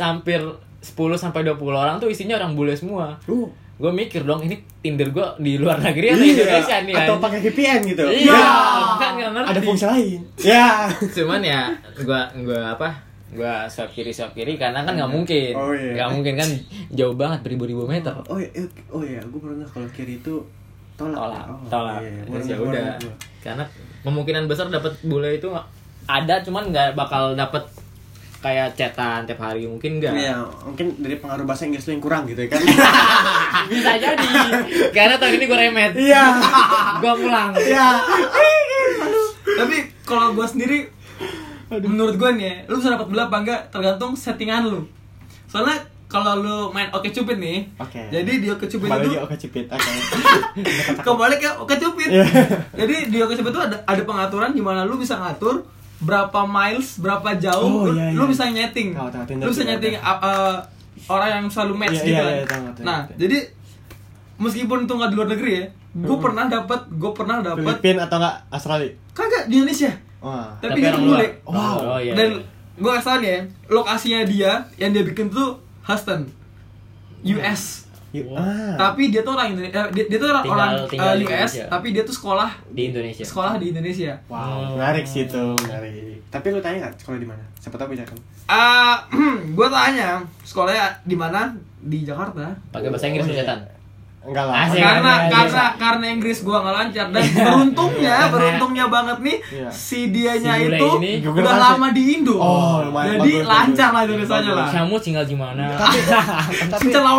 Speaker 3: hampir 10 sampai 20 orang tuh isinya orang bule semua.
Speaker 1: Uh,
Speaker 3: Gue mikir dong ini Tinder gue di luar negeri atau
Speaker 1: iya.
Speaker 3: Indonesia nih
Speaker 1: Atau
Speaker 3: anjing?
Speaker 1: pakai VPN gitu.
Speaker 3: Iya,
Speaker 1: Ya.
Speaker 3: kan nggak ngerti.
Speaker 1: Ada fungsi lain. Ya.
Speaker 3: cuman ya gua gua apa gua swab kiri swab kiri karena kan nggak mungkin
Speaker 1: Oh, iya.
Speaker 3: nggak mungkin kan jauh banget beribu-ribu meter
Speaker 1: Oh iya, oh iya, gue pernah kalau kiri itu tolak.
Speaker 3: tolak
Speaker 1: Oh,
Speaker 3: tolak
Speaker 1: iya,
Speaker 3: terus
Speaker 1: warna-
Speaker 3: ya udah
Speaker 1: warna gua.
Speaker 3: karena kemungkinan besar dapat bule itu nggak- ada cuman nggak bakal dapat kayak cetan tiap hari mungkin nggak
Speaker 1: Iya, mungkin dari pengaruh bahasa Inggris lu yang kurang gitu ya
Speaker 3: [laughs]
Speaker 1: kan.
Speaker 3: bisa jadi [laughs] karena tahun ini gua remet
Speaker 1: Iya.
Speaker 3: gua pulang
Speaker 1: Iya.
Speaker 2: Tapi kalau gue sendiri, menurut gue nih, ya, lu bisa dapat bola apa enggak tergantung settingan lu. Soalnya kalau lu main Oke Cupid nih,
Speaker 1: Oke.
Speaker 2: jadi di Oke Cupid
Speaker 1: Kembali lagi
Speaker 2: itu
Speaker 1: oke cipit. Oke. [laughs]
Speaker 2: kembali ke ya, Oke Cupid.
Speaker 1: Iya.
Speaker 2: Jadi di Oke Cupid itu ada ada pengaturan di mana lu bisa ngatur berapa miles, berapa
Speaker 1: Oh,
Speaker 2: jauh, lu,
Speaker 1: iya,
Speaker 2: lu
Speaker 1: iya.
Speaker 2: bisa nyeting.
Speaker 1: Tahu, tahu, Tinder
Speaker 2: lu bisa
Speaker 1: juga
Speaker 2: nyeting
Speaker 1: ada.
Speaker 2: uh, uh, orang yang selalu match
Speaker 1: Iya,
Speaker 2: gitu
Speaker 1: iya,
Speaker 2: kan.
Speaker 1: iya, tahu, tahu,
Speaker 2: nah,
Speaker 1: tahu.
Speaker 2: jadi meskipun itu nggak di luar negeri ya, gue pernah dapat, gue pernah dapat
Speaker 1: Hmm. Filipin atau enggak Australia?
Speaker 2: kagak di Indonesia.
Speaker 1: Wah.
Speaker 2: Tapi dia
Speaker 3: orang
Speaker 2: tuh bule.
Speaker 3: luar.
Speaker 1: Wow.
Speaker 3: oh, iya,
Speaker 2: Dan
Speaker 3: iya.
Speaker 2: gue kasih tau nih ya, lokasinya dia yang dia bikin tuh Houston, US.
Speaker 1: Yuk. Ah.
Speaker 2: Tapi dia tuh orang Indonesia, eh, dia, dia tuh orang,
Speaker 3: Tinggal-
Speaker 2: orang
Speaker 3: tinggal
Speaker 2: eh,
Speaker 3: di
Speaker 2: US,
Speaker 3: Indonesia.
Speaker 2: tapi dia tuh sekolah
Speaker 3: di Indonesia
Speaker 2: sekolah di Indonesia.
Speaker 1: Wow, menarik sih itu, menarik. Tapi lu tanya nggak sekolah di mana? Siapa tahu bisa kan?
Speaker 2: [clears throat] Ah, gue tanya, sekolahnya di mana? Di Jakarta.
Speaker 3: pakai bahasa
Speaker 1: Oh,
Speaker 3: Inggris
Speaker 1: iya.
Speaker 3: cetan
Speaker 1: Enggak lah.
Speaker 3: Asik.
Speaker 1: Enggak.
Speaker 2: karena
Speaker 3: iya, iya.
Speaker 2: karena karena Inggris gua nggak lancar dan beruntungnya
Speaker 3: Karena-
Speaker 2: beruntungnya banget nih
Speaker 1: Iya.
Speaker 2: si dianya
Speaker 3: Si bule
Speaker 2: itu
Speaker 3: ini
Speaker 1: Google
Speaker 2: udah
Speaker 1: Translate.
Speaker 2: lama di Indo
Speaker 1: Oh, lumayan
Speaker 2: jadi
Speaker 1: bagus,
Speaker 2: lancar
Speaker 1: bagus.
Speaker 2: lah Indonesianya lah
Speaker 3: kamu tinggal di mana
Speaker 1: Oh, iya. [laughs] Tapi
Speaker 2: Celau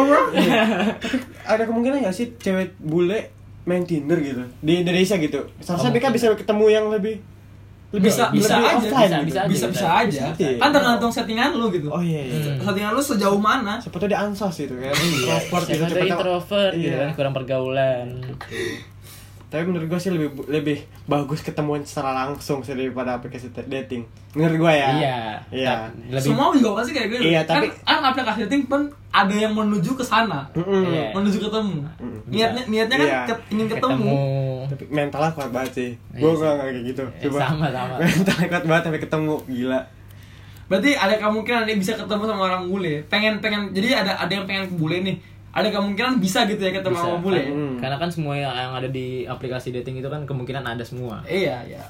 Speaker 1: ada kemungkinan nggak sih cewek bule main Tinder gitu di Indonesia gitu? Seharusnya mereka bisa ketemu yang lebih lebih
Speaker 2: Bisa-
Speaker 1: lebih
Speaker 2: bisa aja,
Speaker 1: offline
Speaker 3: bisa-
Speaker 1: gitu.
Speaker 3: bisa
Speaker 2: bisa bisa aja
Speaker 1: Bisa aja.
Speaker 2: kan tergantung settingan lu gitu
Speaker 1: Oh iya. iya.
Speaker 3: Hmm.
Speaker 2: settingan lu sejauh mana
Speaker 1: Siapa tahu dia ansos gitu kan. Introvert gitu
Speaker 3: Siapa
Speaker 1: siapa
Speaker 3: tuh
Speaker 1: tahu-
Speaker 3: introvert gitu
Speaker 1: Iya.
Speaker 3: kan kurang pergaulan
Speaker 1: Tapi menurut gue sih lebih lebih bagus ketemuan secara langsung sih daripada aplikasi t- dating. Menurut gue ya.
Speaker 3: Iya.
Speaker 1: Iya.
Speaker 3: Lebih
Speaker 2: semua juga pasti kayak gitu
Speaker 1: Iya,
Speaker 2: kan,
Speaker 1: tapi- Hmm.
Speaker 2: kan aplikasi dating pun ada yang menuju ke sana
Speaker 1: Mm-mm.
Speaker 3: Iya.
Speaker 2: menuju ketemu niatnya niatnya kan
Speaker 1: Iya.
Speaker 2: ket- ingin
Speaker 3: ketemu.
Speaker 2: ketemu
Speaker 1: Tapi mentalnya kuat banget sih.
Speaker 3: Iya
Speaker 1: Gue
Speaker 3: sih.
Speaker 1: gak kayak gitu.
Speaker 3: Eh, sama, sama.
Speaker 1: [laughs] Mentalnya kuat banget sampai ketemu gila.
Speaker 2: Berarti ada kemungkinan dia bisa ketemu sama orang bule. Pengen pengen jadi ada ada yang pengen ke bule nih. Ada kemungkinan bisa gitu ya ketemu
Speaker 3: Bisa.
Speaker 2: sama bule.
Speaker 3: Kan-
Speaker 1: Hmm.
Speaker 3: Karena kan semua yang yang ada di aplikasi dating itu kan kemungkinan ada semua.
Speaker 2: Iya, iya.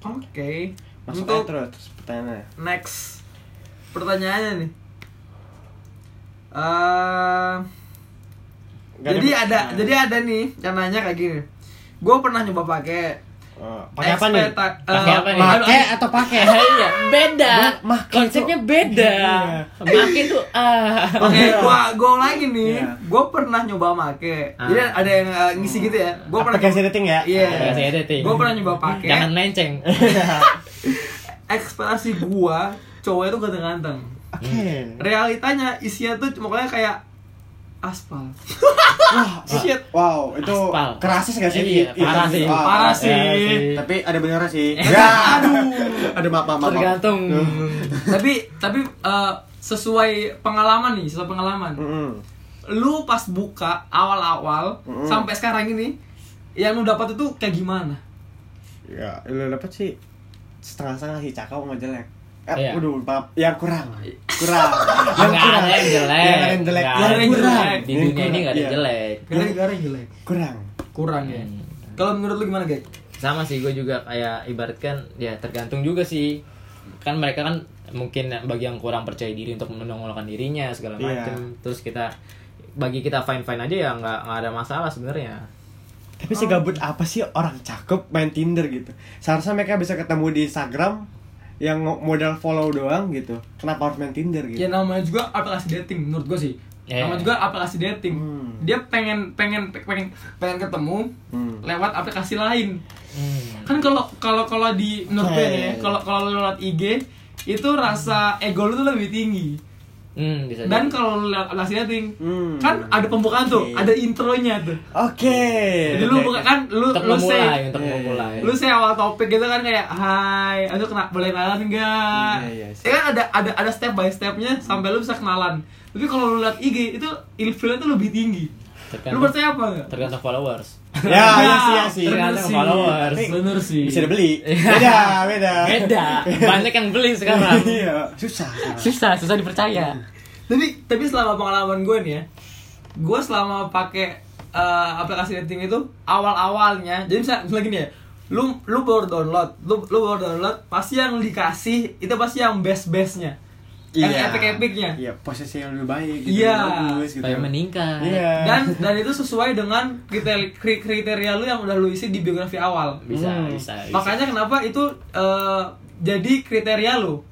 Speaker 2: Oke.
Speaker 1: Masuk
Speaker 2: Untuk
Speaker 1: aja terus, terus pertanyaannya.
Speaker 2: next pertanyaannya nih. Eh
Speaker 1: Nggak
Speaker 2: jadi
Speaker 1: ada-
Speaker 2: ada,
Speaker 1: Nah.
Speaker 2: jadi ada nih yang nanya kayak gini. Gue pernah nyoba pakai
Speaker 1: Oh, pakai apa nih?
Speaker 2: Expeta- eh,
Speaker 3: Pakai apa nih?
Speaker 2: aduh,
Speaker 1: Pakai
Speaker 2: aduh.
Speaker 1: atau pakai?
Speaker 3: Iya, beda.
Speaker 1: Ma- makin
Speaker 3: Konsepnya beda.
Speaker 1: Iya.
Speaker 3: Makin tuh ah.
Speaker 2: Oke, gua gua lagi nih.
Speaker 1: Iya.
Speaker 2: Gua pernah nyoba make. Jadi
Speaker 3: Ah.
Speaker 2: ada yang eh, ngisi gitu ya. Gua pernah
Speaker 1: Aplikasi dating ya?
Speaker 2: Iya.
Speaker 3: Aplikasi dating.
Speaker 2: Gua pernah nyoba pakai.
Speaker 3: Jangan menceng.
Speaker 2: ekspektasi gua cowok itu ganteng-ganteng
Speaker 1: Oke.
Speaker 3: Hmm.
Speaker 2: realitanya isinya tuh cuma kayak kayak
Speaker 1: [laughs]
Speaker 2: aspal shit
Speaker 1: Wow, itu
Speaker 3: Aspal.
Speaker 1: kerasis gak sih?
Speaker 3: Iya,
Speaker 1: Itu-
Speaker 3: parah sih.
Speaker 1: Wah,
Speaker 2: Parah sih.
Speaker 3: Iya
Speaker 1: Tapi ada benernya
Speaker 3: [laughs]
Speaker 1: sih. Ya, aduh. Aduh, maaf, maaf, maaf.
Speaker 3: Tergantung.
Speaker 2: tapi tapi eh, sesuai pengalaman nih sesuai pengalaman
Speaker 1: Mm-mm.
Speaker 2: lu pas buka awal-awal
Speaker 1: Mm-mm.
Speaker 2: sampai sekarang ini yang lu dapat itu kayak gimana
Speaker 1: Ya, lu dapet sih setengah-setengah sih cakep sama jelek. Eh,
Speaker 3: Iya.
Speaker 1: waduh, maaf. Yang kurang. Kurang. yang
Speaker 3: Nggak
Speaker 1: kurang.
Speaker 3: ada yang jelek.
Speaker 1: Yang Iya, ada yang jelek.
Speaker 3: Nggak
Speaker 1: Yang
Speaker 2: ada yang
Speaker 1: kurang.
Speaker 2: jelek.
Speaker 3: Di
Speaker 1: Yang
Speaker 3: dunia ini
Speaker 1: kurang,
Speaker 3: nggak ada yang
Speaker 1: iya.
Speaker 3: jelek.
Speaker 2: gara-gara jelek
Speaker 1: Kurang.
Speaker 2: kurang ya
Speaker 3: Hmm.
Speaker 2: kalau menurut lu gimana guys
Speaker 3: sama sih gue juga kayak ibaratkan ya tergantung juga sih kan mereka kan mungkin bagi yang kurang percaya diri untuk menonjolkan dirinya segala
Speaker 1: Iya.
Speaker 3: macam terus kita bagi kita fine fine aja ya nggak nggak ada masalah sebenarnya
Speaker 1: Tapi segabut apa sih orang cakep main Tinder gitu? Seharusnya mereka bisa ketemu di Instagram yang ngo- modal follow doang gitu. Kenapa harus main Tinder
Speaker 2: Ya
Speaker 1: gitu?
Speaker 2: namanya juga aplikasi dating menurut gue sih.
Speaker 3: Ya,
Speaker 2: Namanya
Speaker 3: ya.
Speaker 2: juga aplikasi dating.
Speaker 1: Hmm.
Speaker 2: Dia pengen pengen pengen pengen ketemu
Speaker 1: Hmm.
Speaker 2: lewat aplikasi lain.
Speaker 3: Hmm.
Speaker 2: Kan kalau kalau kalau di menurut gue nih ya,
Speaker 1: Oke.
Speaker 2: kalau kalau lu lewat IG itu rasa ego lu tuh lebih tinggi.
Speaker 3: Hmm, bisa
Speaker 2: Dan
Speaker 3: jadi.
Speaker 2: kalau lu lewat aplikasi dating
Speaker 1: Hmm.
Speaker 2: kan ada pembukaan tuh,
Speaker 1: Oke.
Speaker 2: ada intronya tuh.
Speaker 1: Oke.
Speaker 3: Ya,
Speaker 2: Jadi lu buka kan lu
Speaker 3: untuk
Speaker 2: lu
Speaker 3: memulai
Speaker 2: say
Speaker 3: untuk
Speaker 1: Iya, iya.
Speaker 3: memulai
Speaker 2: lu sih awal topik gitu kan kayak hai aduh kena boleh kenalan enggak
Speaker 1: Iya, iya, sih.
Speaker 2: ya kan ada ada ada step by stepnya sampai lu bisa kenalan tapi kalau lu lihat IG itu ilfilnya tuh lebih tinggi lu
Speaker 3: tergantung,
Speaker 2: percaya apa enggak
Speaker 3: tergantung followers
Speaker 1: [laughs] Ya, iya sih, iya sih.
Speaker 2: bener
Speaker 3: Tergantung followers.
Speaker 2: sih bener sih
Speaker 1: Bisa dibeli. Beda, beda.
Speaker 3: beda banyak yang beli sekarang
Speaker 1: [laughs] Iya, susah. susah.
Speaker 3: susah susah dipercaya
Speaker 2: tapi tapi selama pengalaman gue nih ya gue selama pakai eh, aplikasi dating itu awal awalnya jadi misalnya, misalnya gini ya lu lu baru download lu lu baru download pasti yang dikasih itu pasti yang best bestnya yang epic epicnya
Speaker 1: Iya, posisi yang lebih baik
Speaker 2: Iya.
Speaker 1: yang bagus, gitu.
Speaker 3: supaya meningkat
Speaker 1: Iya.
Speaker 2: dan dan itu sesuai dengan kriteria kri- kriteria lu yang udah lu isi di biografi awal
Speaker 3: bisa,
Speaker 1: Hmm.
Speaker 3: bisa bisa
Speaker 2: makanya kenapa itu eh, jadi kriteria lu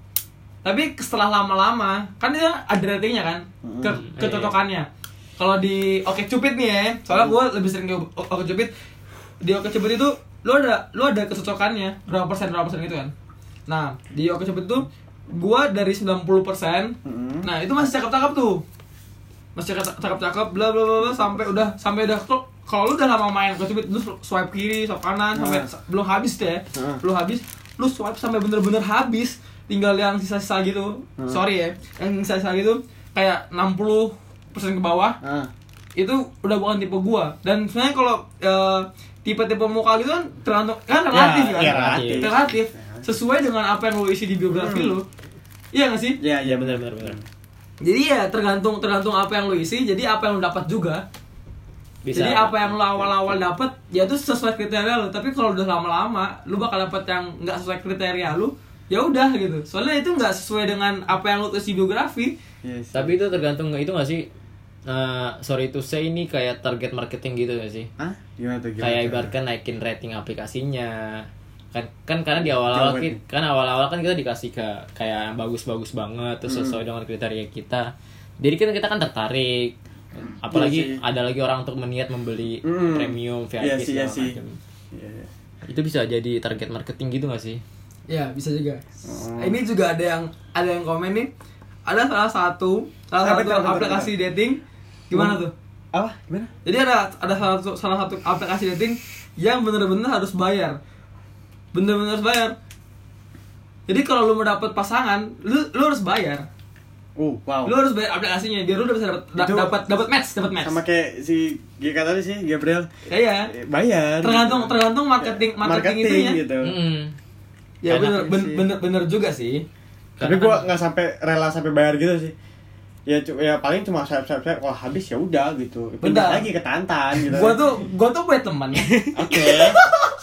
Speaker 2: tapi setelah lama-lama kan itu ada ratingnya kan ke
Speaker 3: Hmm.
Speaker 2: kecocokannya kalau di Oke Cupid nih ya soalnya gue lebih sering ke O- Oke Cupid di Oke Cupid itu lu ada lu ada kecocokannya berapa persen berapa persen gitu kan nah di Oke Cupid itu gue dari 90 persen
Speaker 1: Mm-mm.
Speaker 2: Nah itu masih cakep-cakep tuh Masih cakep- cakep-cakep bla bla bla bla, sampai udah sampai udah kalau- kalau lu udah lama main ke lu swipe kiri, swipe kanan sampai
Speaker 1: Nah.
Speaker 2: sa- belum habis tuh ya.
Speaker 1: Nah.
Speaker 2: Belum habis, lu swipe sampai bener-bener habis, tinggal yang sisa-sisa gitu.
Speaker 1: Nah.
Speaker 2: Sorry ya, yang sisa-sisa gitu kayak 60% ke bawah
Speaker 1: Ah.
Speaker 2: itu udah bukan tipe gua dan sebenarnya kalau eh, tipe-tipe muka gitu kan tergantung kan relatif
Speaker 1: Ya,
Speaker 2: kan
Speaker 1: iya,
Speaker 3: relatif.
Speaker 2: relatif sesuai dengan apa yang lu isi di biografi
Speaker 1: Hmm.
Speaker 2: lu iya gak sih
Speaker 1: Iya, iya
Speaker 3: iya benar
Speaker 1: benar.
Speaker 3: benar benar
Speaker 2: jadi ya tergantung tergantung apa yang lu isi, jadi apa yang lu dapat juga.
Speaker 3: bisa
Speaker 2: Jadi apa yang lu awal-awal dapat ya itu sesuai kriteria lu. Tapi kalau udah lama-lama lu bakal dapat yang nggak sesuai kriteria lu, ya udah gitu. Soalnya itu nggak sesuai dengan apa yang lu tulis di biografi.
Speaker 1: Yes.
Speaker 3: tapi itu tergantung itu nggak sih Eh, sorry to say ini kayak target marketing gitu nggak sih
Speaker 1: Hah? Gimana tuh? Gimana
Speaker 3: kayak
Speaker 1: tuh?
Speaker 3: ibaratkan naikin rating aplikasinya kan kan karena di awal-awal
Speaker 1: Jawabannya.
Speaker 3: ki- kan awal-awal kan kita dikasih ke kayak yang bagus-bagus banget terus sesuai
Speaker 1: Hmm.
Speaker 3: dengan kriteria kita jadi kan kita kan tertarik apalagi
Speaker 1: Iya sih.
Speaker 3: ada lagi orang untuk meniat membeli
Speaker 1: Mm.
Speaker 3: premium VIP
Speaker 1: Iya sih, iya
Speaker 3: segala
Speaker 1: sih.
Speaker 3: macam.
Speaker 1: Iya, iya.
Speaker 3: itu bisa jadi target marketing gitu nggak sih
Speaker 2: Ya bisa juga.
Speaker 1: Oh.
Speaker 2: Ini juga ada yang ada yang komen nih. Ada salah satu salah
Speaker 1: Apa
Speaker 2: satu
Speaker 1: itu, apa itu, apa
Speaker 2: aplikasi
Speaker 1: itu? Hmm.
Speaker 2: dating gimana tuh?
Speaker 1: Apa? Gimana?
Speaker 2: Jadi ada ada salah satu salah satu aplikasi dating yang bener-bener harus bayar. Bener-bener harus bayar. Jadi kalau lu mau dapet pasangan, lu lu harus bayar.
Speaker 1: Oh, wow.
Speaker 2: Lu harus bayar aplikasinya biar lu udah bisa dapet da-
Speaker 1: Itu-
Speaker 2: dapet dapet match, dapet match.
Speaker 1: sama kayak si Gika tadi sih Gabriel
Speaker 2: Iya.
Speaker 1: eh, bayar
Speaker 2: Tergantung tergantung marketing marketing,
Speaker 1: marketing
Speaker 2: itunya.
Speaker 1: gitu
Speaker 3: Mm-mm.
Speaker 2: Ya
Speaker 3: Enak
Speaker 2: bener,
Speaker 1: sih.
Speaker 2: ben- bener bener juga sih.
Speaker 1: tapi
Speaker 3: Karena
Speaker 1: gua
Speaker 3: kan-
Speaker 1: nggak sampai rela sampai bayar gitu sih ya cu- ya paling cuma swipe swipe swipe wah habis ya udah gitu pindah
Speaker 2: Bentar.
Speaker 1: lagi ke tantan gitu
Speaker 2: Gua tuh gua tuh punya
Speaker 1: [laughs]
Speaker 2: teman.
Speaker 1: oke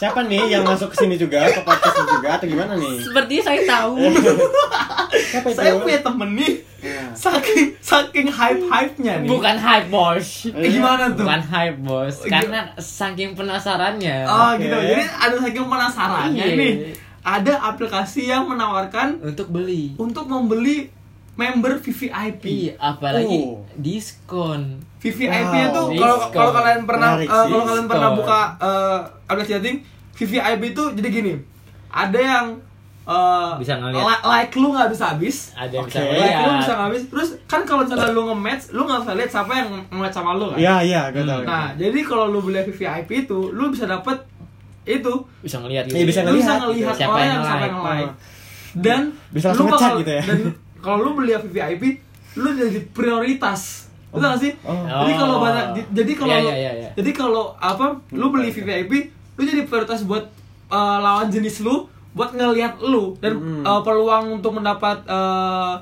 Speaker 1: siapa nih yang masuk ke sini juga ke podcast ini juga atau gimana nih
Speaker 3: Hmm. sepertinya saya tahu
Speaker 1: [laughs] siapa itu
Speaker 2: Saya punya temen nih.
Speaker 1: Iya.
Speaker 2: Saking saking hype hype nya nih.
Speaker 3: bukan hype bos
Speaker 2: Eh, Gimana tuh?
Speaker 3: bukan hype bos
Speaker 1: Oh,
Speaker 2: Iya.
Speaker 3: karena saking penasarannya
Speaker 2: Oh
Speaker 1: Oke.
Speaker 2: gitu. Jadi ada saking penasarannya
Speaker 3: Iya.
Speaker 2: nih. Ada aplikasi yang menawarkan
Speaker 3: untuk beli
Speaker 2: untuk membeli member VVIP.
Speaker 3: Iya, apalagi
Speaker 1: Oh.
Speaker 3: diskon.
Speaker 2: VVIP-nya
Speaker 1: Wow.
Speaker 2: tuh kalau
Speaker 3: Diskon.
Speaker 2: kalau kalian pernah
Speaker 1: Menarik
Speaker 2: eh,
Speaker 1: sih,
Speaker 2: kalau kalian pernah
Speaker 3: diskon.
Speaker 2: buka eh, aplikasi dating, VVIP itu jadi gini. Ada yang eh,
Speaker 3: Bisa ngeliat. Iya.
Speaker 2: li- like lu nggak bisa habis.
Speaker 3: Ada yang
Speaker 1: Oke.
Speaker 3: bisa
Speaker 2: Like lu
Speaker 3: ngeliat.
Speaker 2: bisa nggak habis. Terus kan kalau misalnya lu nge-match, lu nggak bisa lihat siapa yang nge-match sama lu kan.
Speaker 1: iya iya
Speaker 3: Hmm.
Speaker 1: gua tahu
Speaker 2: Nah, jadi kalau lu beli VVIP itu, lu bisa dapet itu
Speaker 3: Bisa ngeliat gitu.
Speaker 1: Iya, bisa
Speaker 2: lu bisa
Speaker 1: ngelihat
Speaker 2: ngelihat
Speaker 3: gitu. Siapa
Speaker 2: orang
Speaker 3: yang
Speaker 2: yang sampai
Speaker 3: like.
Speaker 2: nge-like dan
Speaker 1: Bisa langsung ngecek gitu ya.
Speaker 3: [laughs]
Speaker 2: dan kalau lu beli VVIP lu jadi prioritas
Speaker 1: Oh.
Speaker 2: betul gak sih
Speaker 1: Oh.
Speaker 2: jadi kalau
Speaker 3: Oh.
Speaker 2: banyak jadi kalau
Speaker 3: Iya, iya, iya, iya.
Speaker 2: jadi kalau apa lu beli VVIP lu jadi prioritas buat eh, lawan jenis lu buat ngelihat lu dan
Speaker 1: Hmm.
Speaker 2: eh, peluang untuk mendapat eh,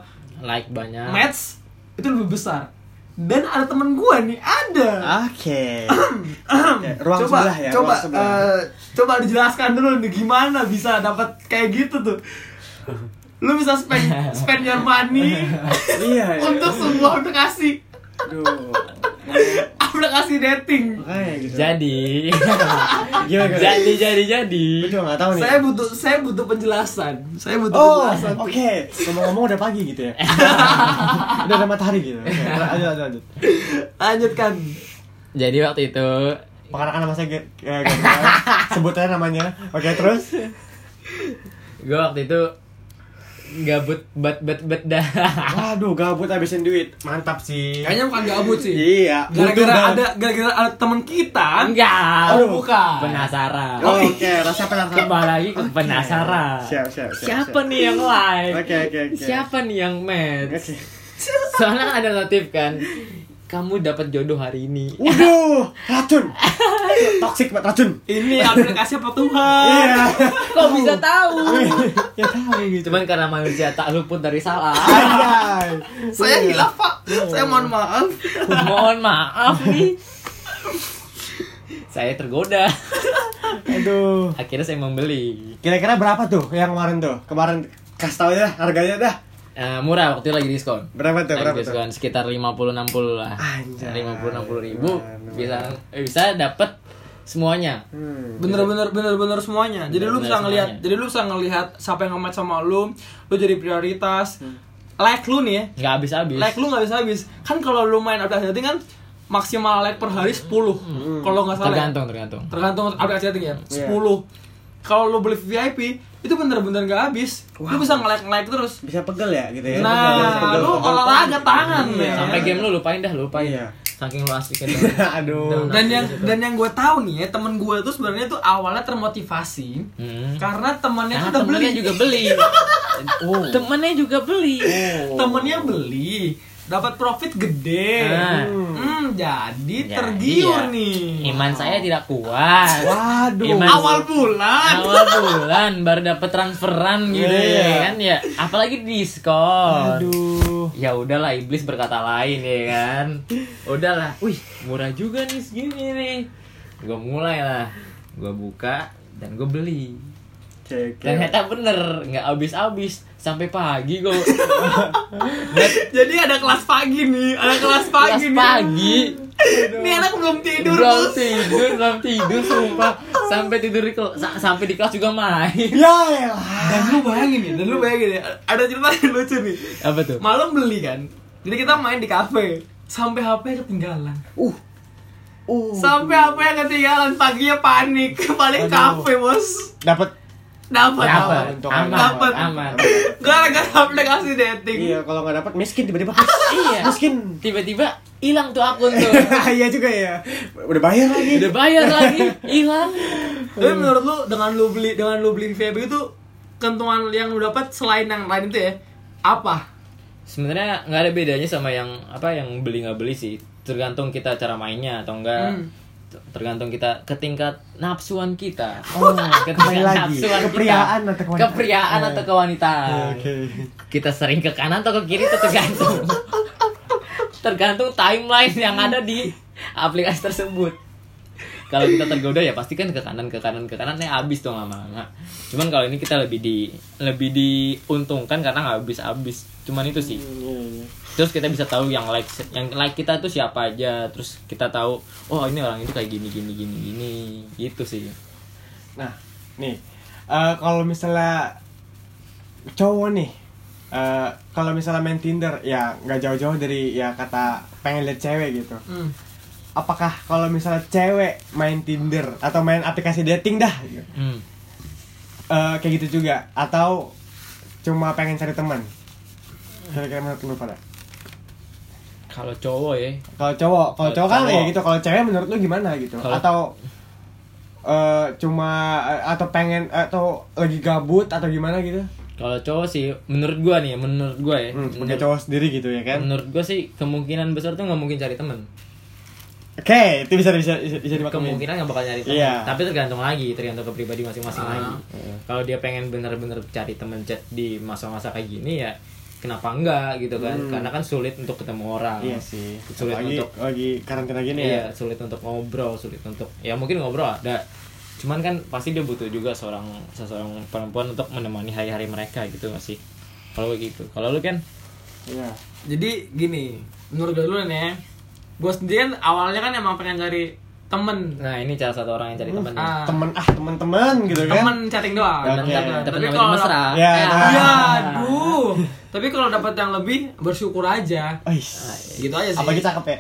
Speaker 3: Like banyak.
Speaker 2: match itu lebih besar dan ada temen gua nih
Speaker 3: Ah.
Speaker 2: ada
Speaker 1: oke Ya, ruang
Speaker 2: coba,
Speaker 1: sebelah ya
Speaker 2: coba,
Speaker 1: ruang sebelah
Speaker 2: eh, coba dijelaskan dulu nih gimana bisa dapat kayak gitu tuh. lu bisa spend
Speaker 1: [laughs]
Speaker 2: spend your money
Speaker 1: iya iya.
Speaker 2: untuk sebuah aplikasi
Speaker 1: Aduh.
Speaker 2: aplikasi dating
Speaker 1: Makanya gitu. [laughs]
Speaker 3: Jadi, [laughs]
Speaker 1: Gimana, gimana?
Speaker 3: jadi, jadi, jadi.
Speaker 1: Gua juga nggak tahu nih.
Speaker 2: saya butuh saya butuh penjelasan saya butuh
Speaker 1: Oh,
Speaker 2: penjelasan
Speaker 1: oke. Ngomong-ngomong udah pagi gitu
Speaker 2: [laughs]
Speaker 1: ya. udah ada matahari gitu. Oke, lanjut lanjut lanjut.
Speaker 2: lanjutkan
Speaker 3: Jadi waktu itu
Speaker 1: Pengarahkan nama saya Ge- eh, Ge- sebut aja namanya. Oke, terus
Speaker 3: gue waktu itu gabut bet bet bet
Speaker 1: [laughs]
Speaker 3: dah.
Speaker 1: Waduh, gabut habisin duit. Mantap sih.
Speaker 2: kayaknya bukan gabut sih
Speaker 1: Iya, butuh
Speaker 2: gara-gara
Speaker 1: banget.
Speaker 2: ada gara-gara ada teman kita
Speaker 3: Enggak.
Speaker 1: Aduh.
Speaker 2: bukan
Speaker 3: Penasaran.
Speaker 1: Oh,
Speaker 2: iya.
Speaker 1: Oke, rasa penasaran.
Speaker 3: Kembali lagi ke penasaran.
Speaker 1: Siap, siap, siap.
Speaker 3: Siapa
Speaker 1: siap.
Speaker 3: nih yang live?
Speaker 1: Oke, oke, oke.
Speaker 3: Siapa nih yang match?
Speaker 1: Oke.
Speaker 3: Soalnya kan ada notif kan. Kamu dapat jodoh hari ini.
Speaker 1: Waduh, racun. [laughs] Toxic banget racun.
Speaker 2: ini aplikasi apa Tuhan
Speaker 1: Iya.
Speaker 3: Kok bisa tahu?
Speaker 1: ya tahu gitu.
Speaker 3: Cuman karena manusia tak luput dari salah.
Speaker 1: Anjay.
Speaker 2: saya
Speaker 1: Iya.
Speaker 2: hilaf pak saya mohon maaf
Speaker 3: Mohon maaf nih. Saya tergoda.
Speaker 1: Aduh.
Speaker 3: Akhirnya saya membeli.
Speaker 1: Kira-kira berapa tuh yang kemarin tuh? Kemarin kasih tau aja harganya dah.
Speaker 3: Eh, murah waktu itu lagi diskon.
Speaker 1: Berapa tuh?
Speaker 3: Lagi
Speaker 1: Berapa tuh?
Speaker 3: diskon sekitar 50 60 lah.
Speaker 1: Anjay.
Speaker 3: 50 60 ribu
Speaker 1: Bener,
Speaker 3: bisa eh, bisa dapat semuanya.
Speaker 1: Hmm.
Speaker 2: bener-bener bener-bener semuanya jadi lu
Speaker 3: Iya.
Speaker 2: bisa
Speaker 3: Bener-bener
Speaker 2: ngelihat
Speaker 3: semuanya.
Speaker 2: jadi lu bisa ngelihat siapa yang nge-match sama lu lu jadi prioritas
Speaker 3: Hmm.
Speaker 2: like lu nih ya
Speaker 3: nggak habis-habis.
Speaker 2: like lu nggak bisa habis kan kalau lu main aplikasi dating kan maksimal like per hari 10
Speaker 3: Hmm.
Speaker 2: kalau nggak salah ya.
Speaker 3: tergantung, tergantung.
Speaker 2: tergantung aplikasi dating ya
Speaker 1: Iya.
Speaker 2: 10 kalau lu beli VIP itu bener-bener nggak habis lu bisa nge-like nge-like terus
Speaker 1: Bisa pegel ya gitu ya.
Speaker 3: Iya,
Speaker 2: nah
Speaker 1: Pegel,
Speaker 2: lu
Speaker 1: pegel.
Speaker 2: olahraga tangan ya.
Speaker 1: Iya.
Speaker 2: men.
Speaker 3: Sampai game lu lupain dah, lupain.
Speaker 1: Iya.
Speaker 3: Saking lu
Speaker 1: [laughs]
Speaker 3: asik itu.
Speaker 1: [laughs] Aduh.
Speaker 2: dan yang dan yang gue tahu nih ya temen gue tuh sebenarnya tuh awalnya termotivasi
Speaker 3: Hmm.
Speaker 2: karena temennya
Speaker 3: Nah,
Speaker 2: tuh udah beli
Speaker 3: temennya juga
Speaker 2: [laughs]
Speaker 3: beli.
Speaker 1: Oh.
Speaker 3: temennya juga beli.
Speaker 2: Oh. temennya beli dapat profit gede
Speaker 3: Nah.
Speaker 2: hmm, jadi
Speaker 3: Jadi
Speaker 2: tergiur
Speaker 3: ya,
Speaker 2: nih
Speaker 3: Iman saya tidak kuat.
Speaker 1: Waduh.
Speaker 3: Iman-
Speaker 2: awal bulan
Speaker 3: awal bulan baru dapat transferan gitu
Speaker 1: Iya.
Speaker 3: ya kan ya apalagi diskon
Speaker 1: Aduh.
Speaker 3: ya udahlah iblis berkata lain ya kan udahlah wih murah juga nih segini nih gue mulai lah gue buka dan gue beli
Speaker 1: Oke, oke.
Speaker 2: Iya.
Speaker 3: ternyata bener nggak habis habis sampai pagi
Speaker 2: [laughs]
Speaker 3: gue
Speaker 2: jadi ada kelas pagi nih ada kelas
Speaker 3: pas
Speaker 2: pagi nih
Speaker 3: pagi
Speaker 2: nih anak belum tidur
Speaker 3: belum
Speaker 2: bos
Speaker 3: tidur belum tidur sumpah sampai tidur di kel- sa- sampai di kelas juga
Speaker 2: [laughs]
Speaker 3: main
Speaker 1: Ya elah.
Speaker 2: dan lu bayangin nih dan lu bayangin ya ada cerita yang lucu nih
Speaker 3: apa tuh
Speaker 2: malam beli kan jadi kita main di kafe sampai HP ketinggalan
Speaker 1: Uh.
Speaker 3: Oh.
Speaker 1: Uh.
Speaker 2: sampai apa yang ketinggalan paginya panik balik
Speaker 1: Aduh.
Speaker 2: kafe bos
Speaker 1: Dapat
Speaker 2: dapat
Speaker 3: Dapat,
Speaker 2: dapat
Speaker 1: Untung
Speaker 3: aman,
Speaker 2: dapat
Speaker 3: aman.
Speaker 2: gara-gara aplikasi dating
Speaker 1: Iya, kalau nggak dapat miskin tiba-tiba.
Speaker 3: Iya.
Speaker 1: Miskin. [laughs]
Speaker 3: Tiba-tiba hilang tuh akun tuh.
Speaker 1: Iya juga ya. Udah bayar lagi.
Speaker 3: Udah bayar lagi, hilang.
Speaker 2: tapi menurut lu dengan lu beli dengan lu beli VIP itu kentungan yang lu dapat selain yang lain itu ya apa
Speaker 3: Sebenarnya nggak ada bedanya sama yang apa yang beli nggak beli sih. Tergantung kita cara mainnya atau enggak.
Speaker 2: Hmm.
Speaker 3: Tergantung kita ke tingkat nafsuan
Speaker 2: [laughs]
Speaker 3: kita.
Speaker 1: Oh,
Speaker 3: Ke
Speaker 1: kembali
Speaker 3: tingkat
Speaker 1: lagi.
Speaker 3: nafsuan
Speaker 1: Kepriaan
Speaker 3: kita.
Speaker 1: atau kewanitaan?
Speaker 3: Kepriaan atau kewanitaan.
Speaker 1: Iya, Oke.
Speaker 3: Kita sering ke kanan atau ke kiri itu tergantung. tergantung timeline yang ada di aplikasi tersebut. Kalau kita tergoda ya pasti kan ke kanan ke kanan ke kanan ya habis tuh lama-lama. Cuman kalau ini kita lebih di lebih diuntungkan karena nggak habis-habis. Cuman itu sih.
Speaker 1: Iya.
Speaker 3: Terus kita bisa tahu yang like yang like kita tuh siapa aja. Terus kita tahu oh ini orang itu kayak gini gini gini gini gitu sih.
Speaker 1: Nah, nih. eh, kalau misalnya cowok nih eh, kalau misalnya main Tinder ya nggak jauh-jauh dari ya kata pengen lihat cewek gitu.
Speaker 2: hmm.
Speaker 1: Apakah kalau misalnya cewek main Tinder atau main aplikasi dating dah gitu,
Speaker 3: Hmm.
Speaker 1: eh, kayak gitu juga atau cuma pengen cari teman? Kira-kira menurut lu pada?
Speaker 3: Kalau cowok ya
Speaker 1: Kalau cowok, kalau
Speaker 3: Kalau
Speaker 1: cowok kan
Speaker 3: cowok.
Speaker 1: ya gitu. Kalau cewek menurut lu gimana gitu?
Speaker 3: Kalau-
Speaker 1: Atau eh, cuma eh, atau pengen atau lagi gabut atau gimana gitu?
Speaker 3: kalau cowok sih menurut gua nih menurut gua ya
Speaker 1: Hmm, sebagai
Speaker 3: menurut,
Speaker 1: cowok sendiri gitu ya kan?
Speaker 3: menurut gua sih kemungkinan besar tuh nggak mungkin cari temen
Speaker 1: Oke, itu bisa bisa bisa, bisa dimaklumin.
Speaker 3: kemungkinan nggak bakal nyari teman
Speaker 1: Iya.
Speaker 3: tapi tergantung lagi tergantung ke pribadi masing-masing lagi kalau dia pengen bener-bener cari temen ce- di masa-masa kayak gini ya kenapa enggak gitu kan karena kan sulit untuk ketemu orang
Speaker 1: Hmm. Iya sih.
Speaker 3: sulit
Speaker 1: lagi
Speaker 3: untuk
Speaker 1: lagi karantina gini ya.
Speaker 3: iya, sulit untuk ngobrol sulit untuk ya mungkin ngobrol ada cuman kan pasti dia butuh juga seorang seseorang perempuan untuk menemani hari-hari mereka gitu nggak sih kalau gue gitu kalau lu kan
Speaker 1: Iya.
Speaker 2: Jadi gini, menurut gue dulu nih ya. Gue sendiri kan awalnya kan emang pengen cari temen
Speaker 3: nah ini salah satu orang yang cari temen nih.
Speaker 2: Ah,
Speaker 1: Hmm. Temen ah temen-temen gitu kan.
Speaker 2: temen chatting doang.
Speaker 1: Oke.
Speaker 2: Temen chatting doang.
Speaker 3: Temen
Speaker 2: Tapi
Speaker 3: namanya
Speaker 2: kalau
Speaker 3: mesra. Hmm.
Speaker 2: dap-
Speaker 1: Ya,
Speaker 2: Eh,
Speaker 1: nah.
Speaker 2: ya, aduh. Tapi kalau dapat yang lebih bersyukur aja.
Speaker 1: Ais.
Speaker 3: Ah, iya.
Speaker 2: Gitu aja sih.
Speaker 1: Apalagi cakep ya.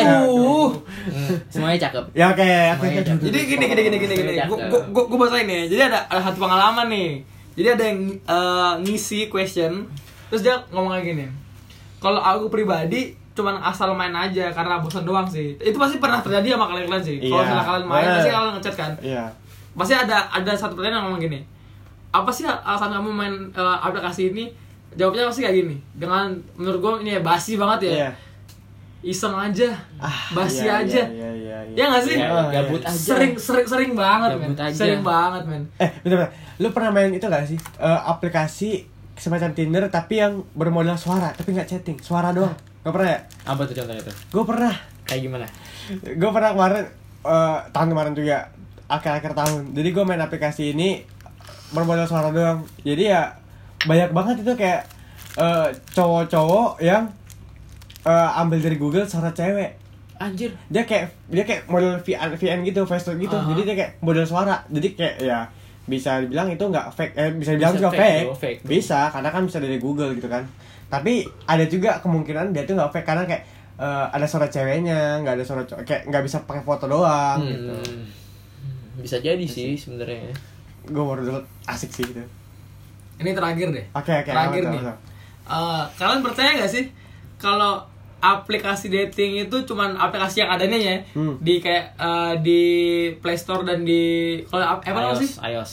Speaker 2: Aduh.
Speaker 3: Hmm, semuanya cakep
Speaker 1: Ya oke, oke.
Speaker 3: Semuanya
Speaker 1: oke.
Speaker 3: cakep.
Speaker 2: Jadi gini gini gini gini gini. Gu- gu- gu- Gua bahasain ya. Jadi ada ada satu pengalaman nih. Jadi ada yang eh, ngisi question. Terus dia ngomong kayak gini. Kalau aku pribadi cuman asal main aja karena bosan doang sih. Itu pasti pernah terjadi sama kalian-kalian sih. Kalau
Speaker 1: Iya.
Speaker 2: misalnya kalian main
Speaker 1: Bener.
Speaker 2: pasti kalian ngechat kan.
Speaker 1: Iya.
Speaker 2: Pasti ada ada satu pertanyaan yang ngomong gini. Apa sih alasan kamu main eh, aplikasi ini? Jawabnya pasti kayak gini. Dengan menurut gua ini ya basi banget ya.
Speaker 1: Iya.
Speaker 2: Iseng aja. Ah, basi
Speaker 1: iya,
Speaker 2: aja.
Speaker 1: Iya, iya, iya.
Speaker 2: Ya nggak sih?
Speaker 3: Ya,
Speaker 1: Oh,
Speaker 3: gabut
Speaker 1: iya.
Speaker 3: aja
Speaker 2: sering sering sering banget men
Speaker 3: Gabut aja.
Speaker 2: sering banget men
Speaker 1: Eh, bentar, bentar. Lu pernah main itu gak sih? Eh, aplikasi semacam Tinder tapi yang bermodal suara, tapi nggak chatting, suara doang. Gak pernah ya?
Speaker 3: apa tuh contohnya tuh
Speaker 1: Gue pernah.
Speaker 3: kayak gimana
Speaker 1: Gue pernah kemarin eh, tahun kemarin juga akhir-akhir tahun. Jadi gue main aplikasi ini bermodal suara doang. Jadi ya banyak banget itu kayak eh, cowok-cowok yang eh, ambil dari Google suara cewek.
Speaker 3: anjir
Speaker 1: dia kayak dia kayak model VN VN gitu face to gitu
Speaker 2: Aha.
Speaker 1: jadi dia kayak model suara jadi kayak ya bisa dibilang itu nggak fake eh bisa dibilang
Speaker 3: Bisa
Speaker 1: juga
Speaker 3: fake
Speaker 1: fake,
Speaker 3: tuh, fake tuh.
Speaker 1: bisa karena kan bisa dari Google gitu kan tapi ada juga kemungkinan dia tuh nggak fake karena kayak eh, ada suara ceweknya nggak ada suara cowok kayak nggak bisa pakai foto doang gitu
Speaker 3: Hmm. bisa jadi sih sebenarnya
Speaker 1: gue baru dulu asik sih gitu
Speaker 2: ini terakhir deh
Speaker 1: oke oke aman,
Speaker 2: terakhir nih
Speaker 1: aman.
Speaker 2: Eh, kalian percaya nggak sih kalau aplikasi dating itu cuman aplikasi yang adanya ya
Speaker 1: Hmm.
Speaker 2: di kayak eh, di Play Store dan di kalau ap- apa namanya sih
Speaker 3: iOS iOS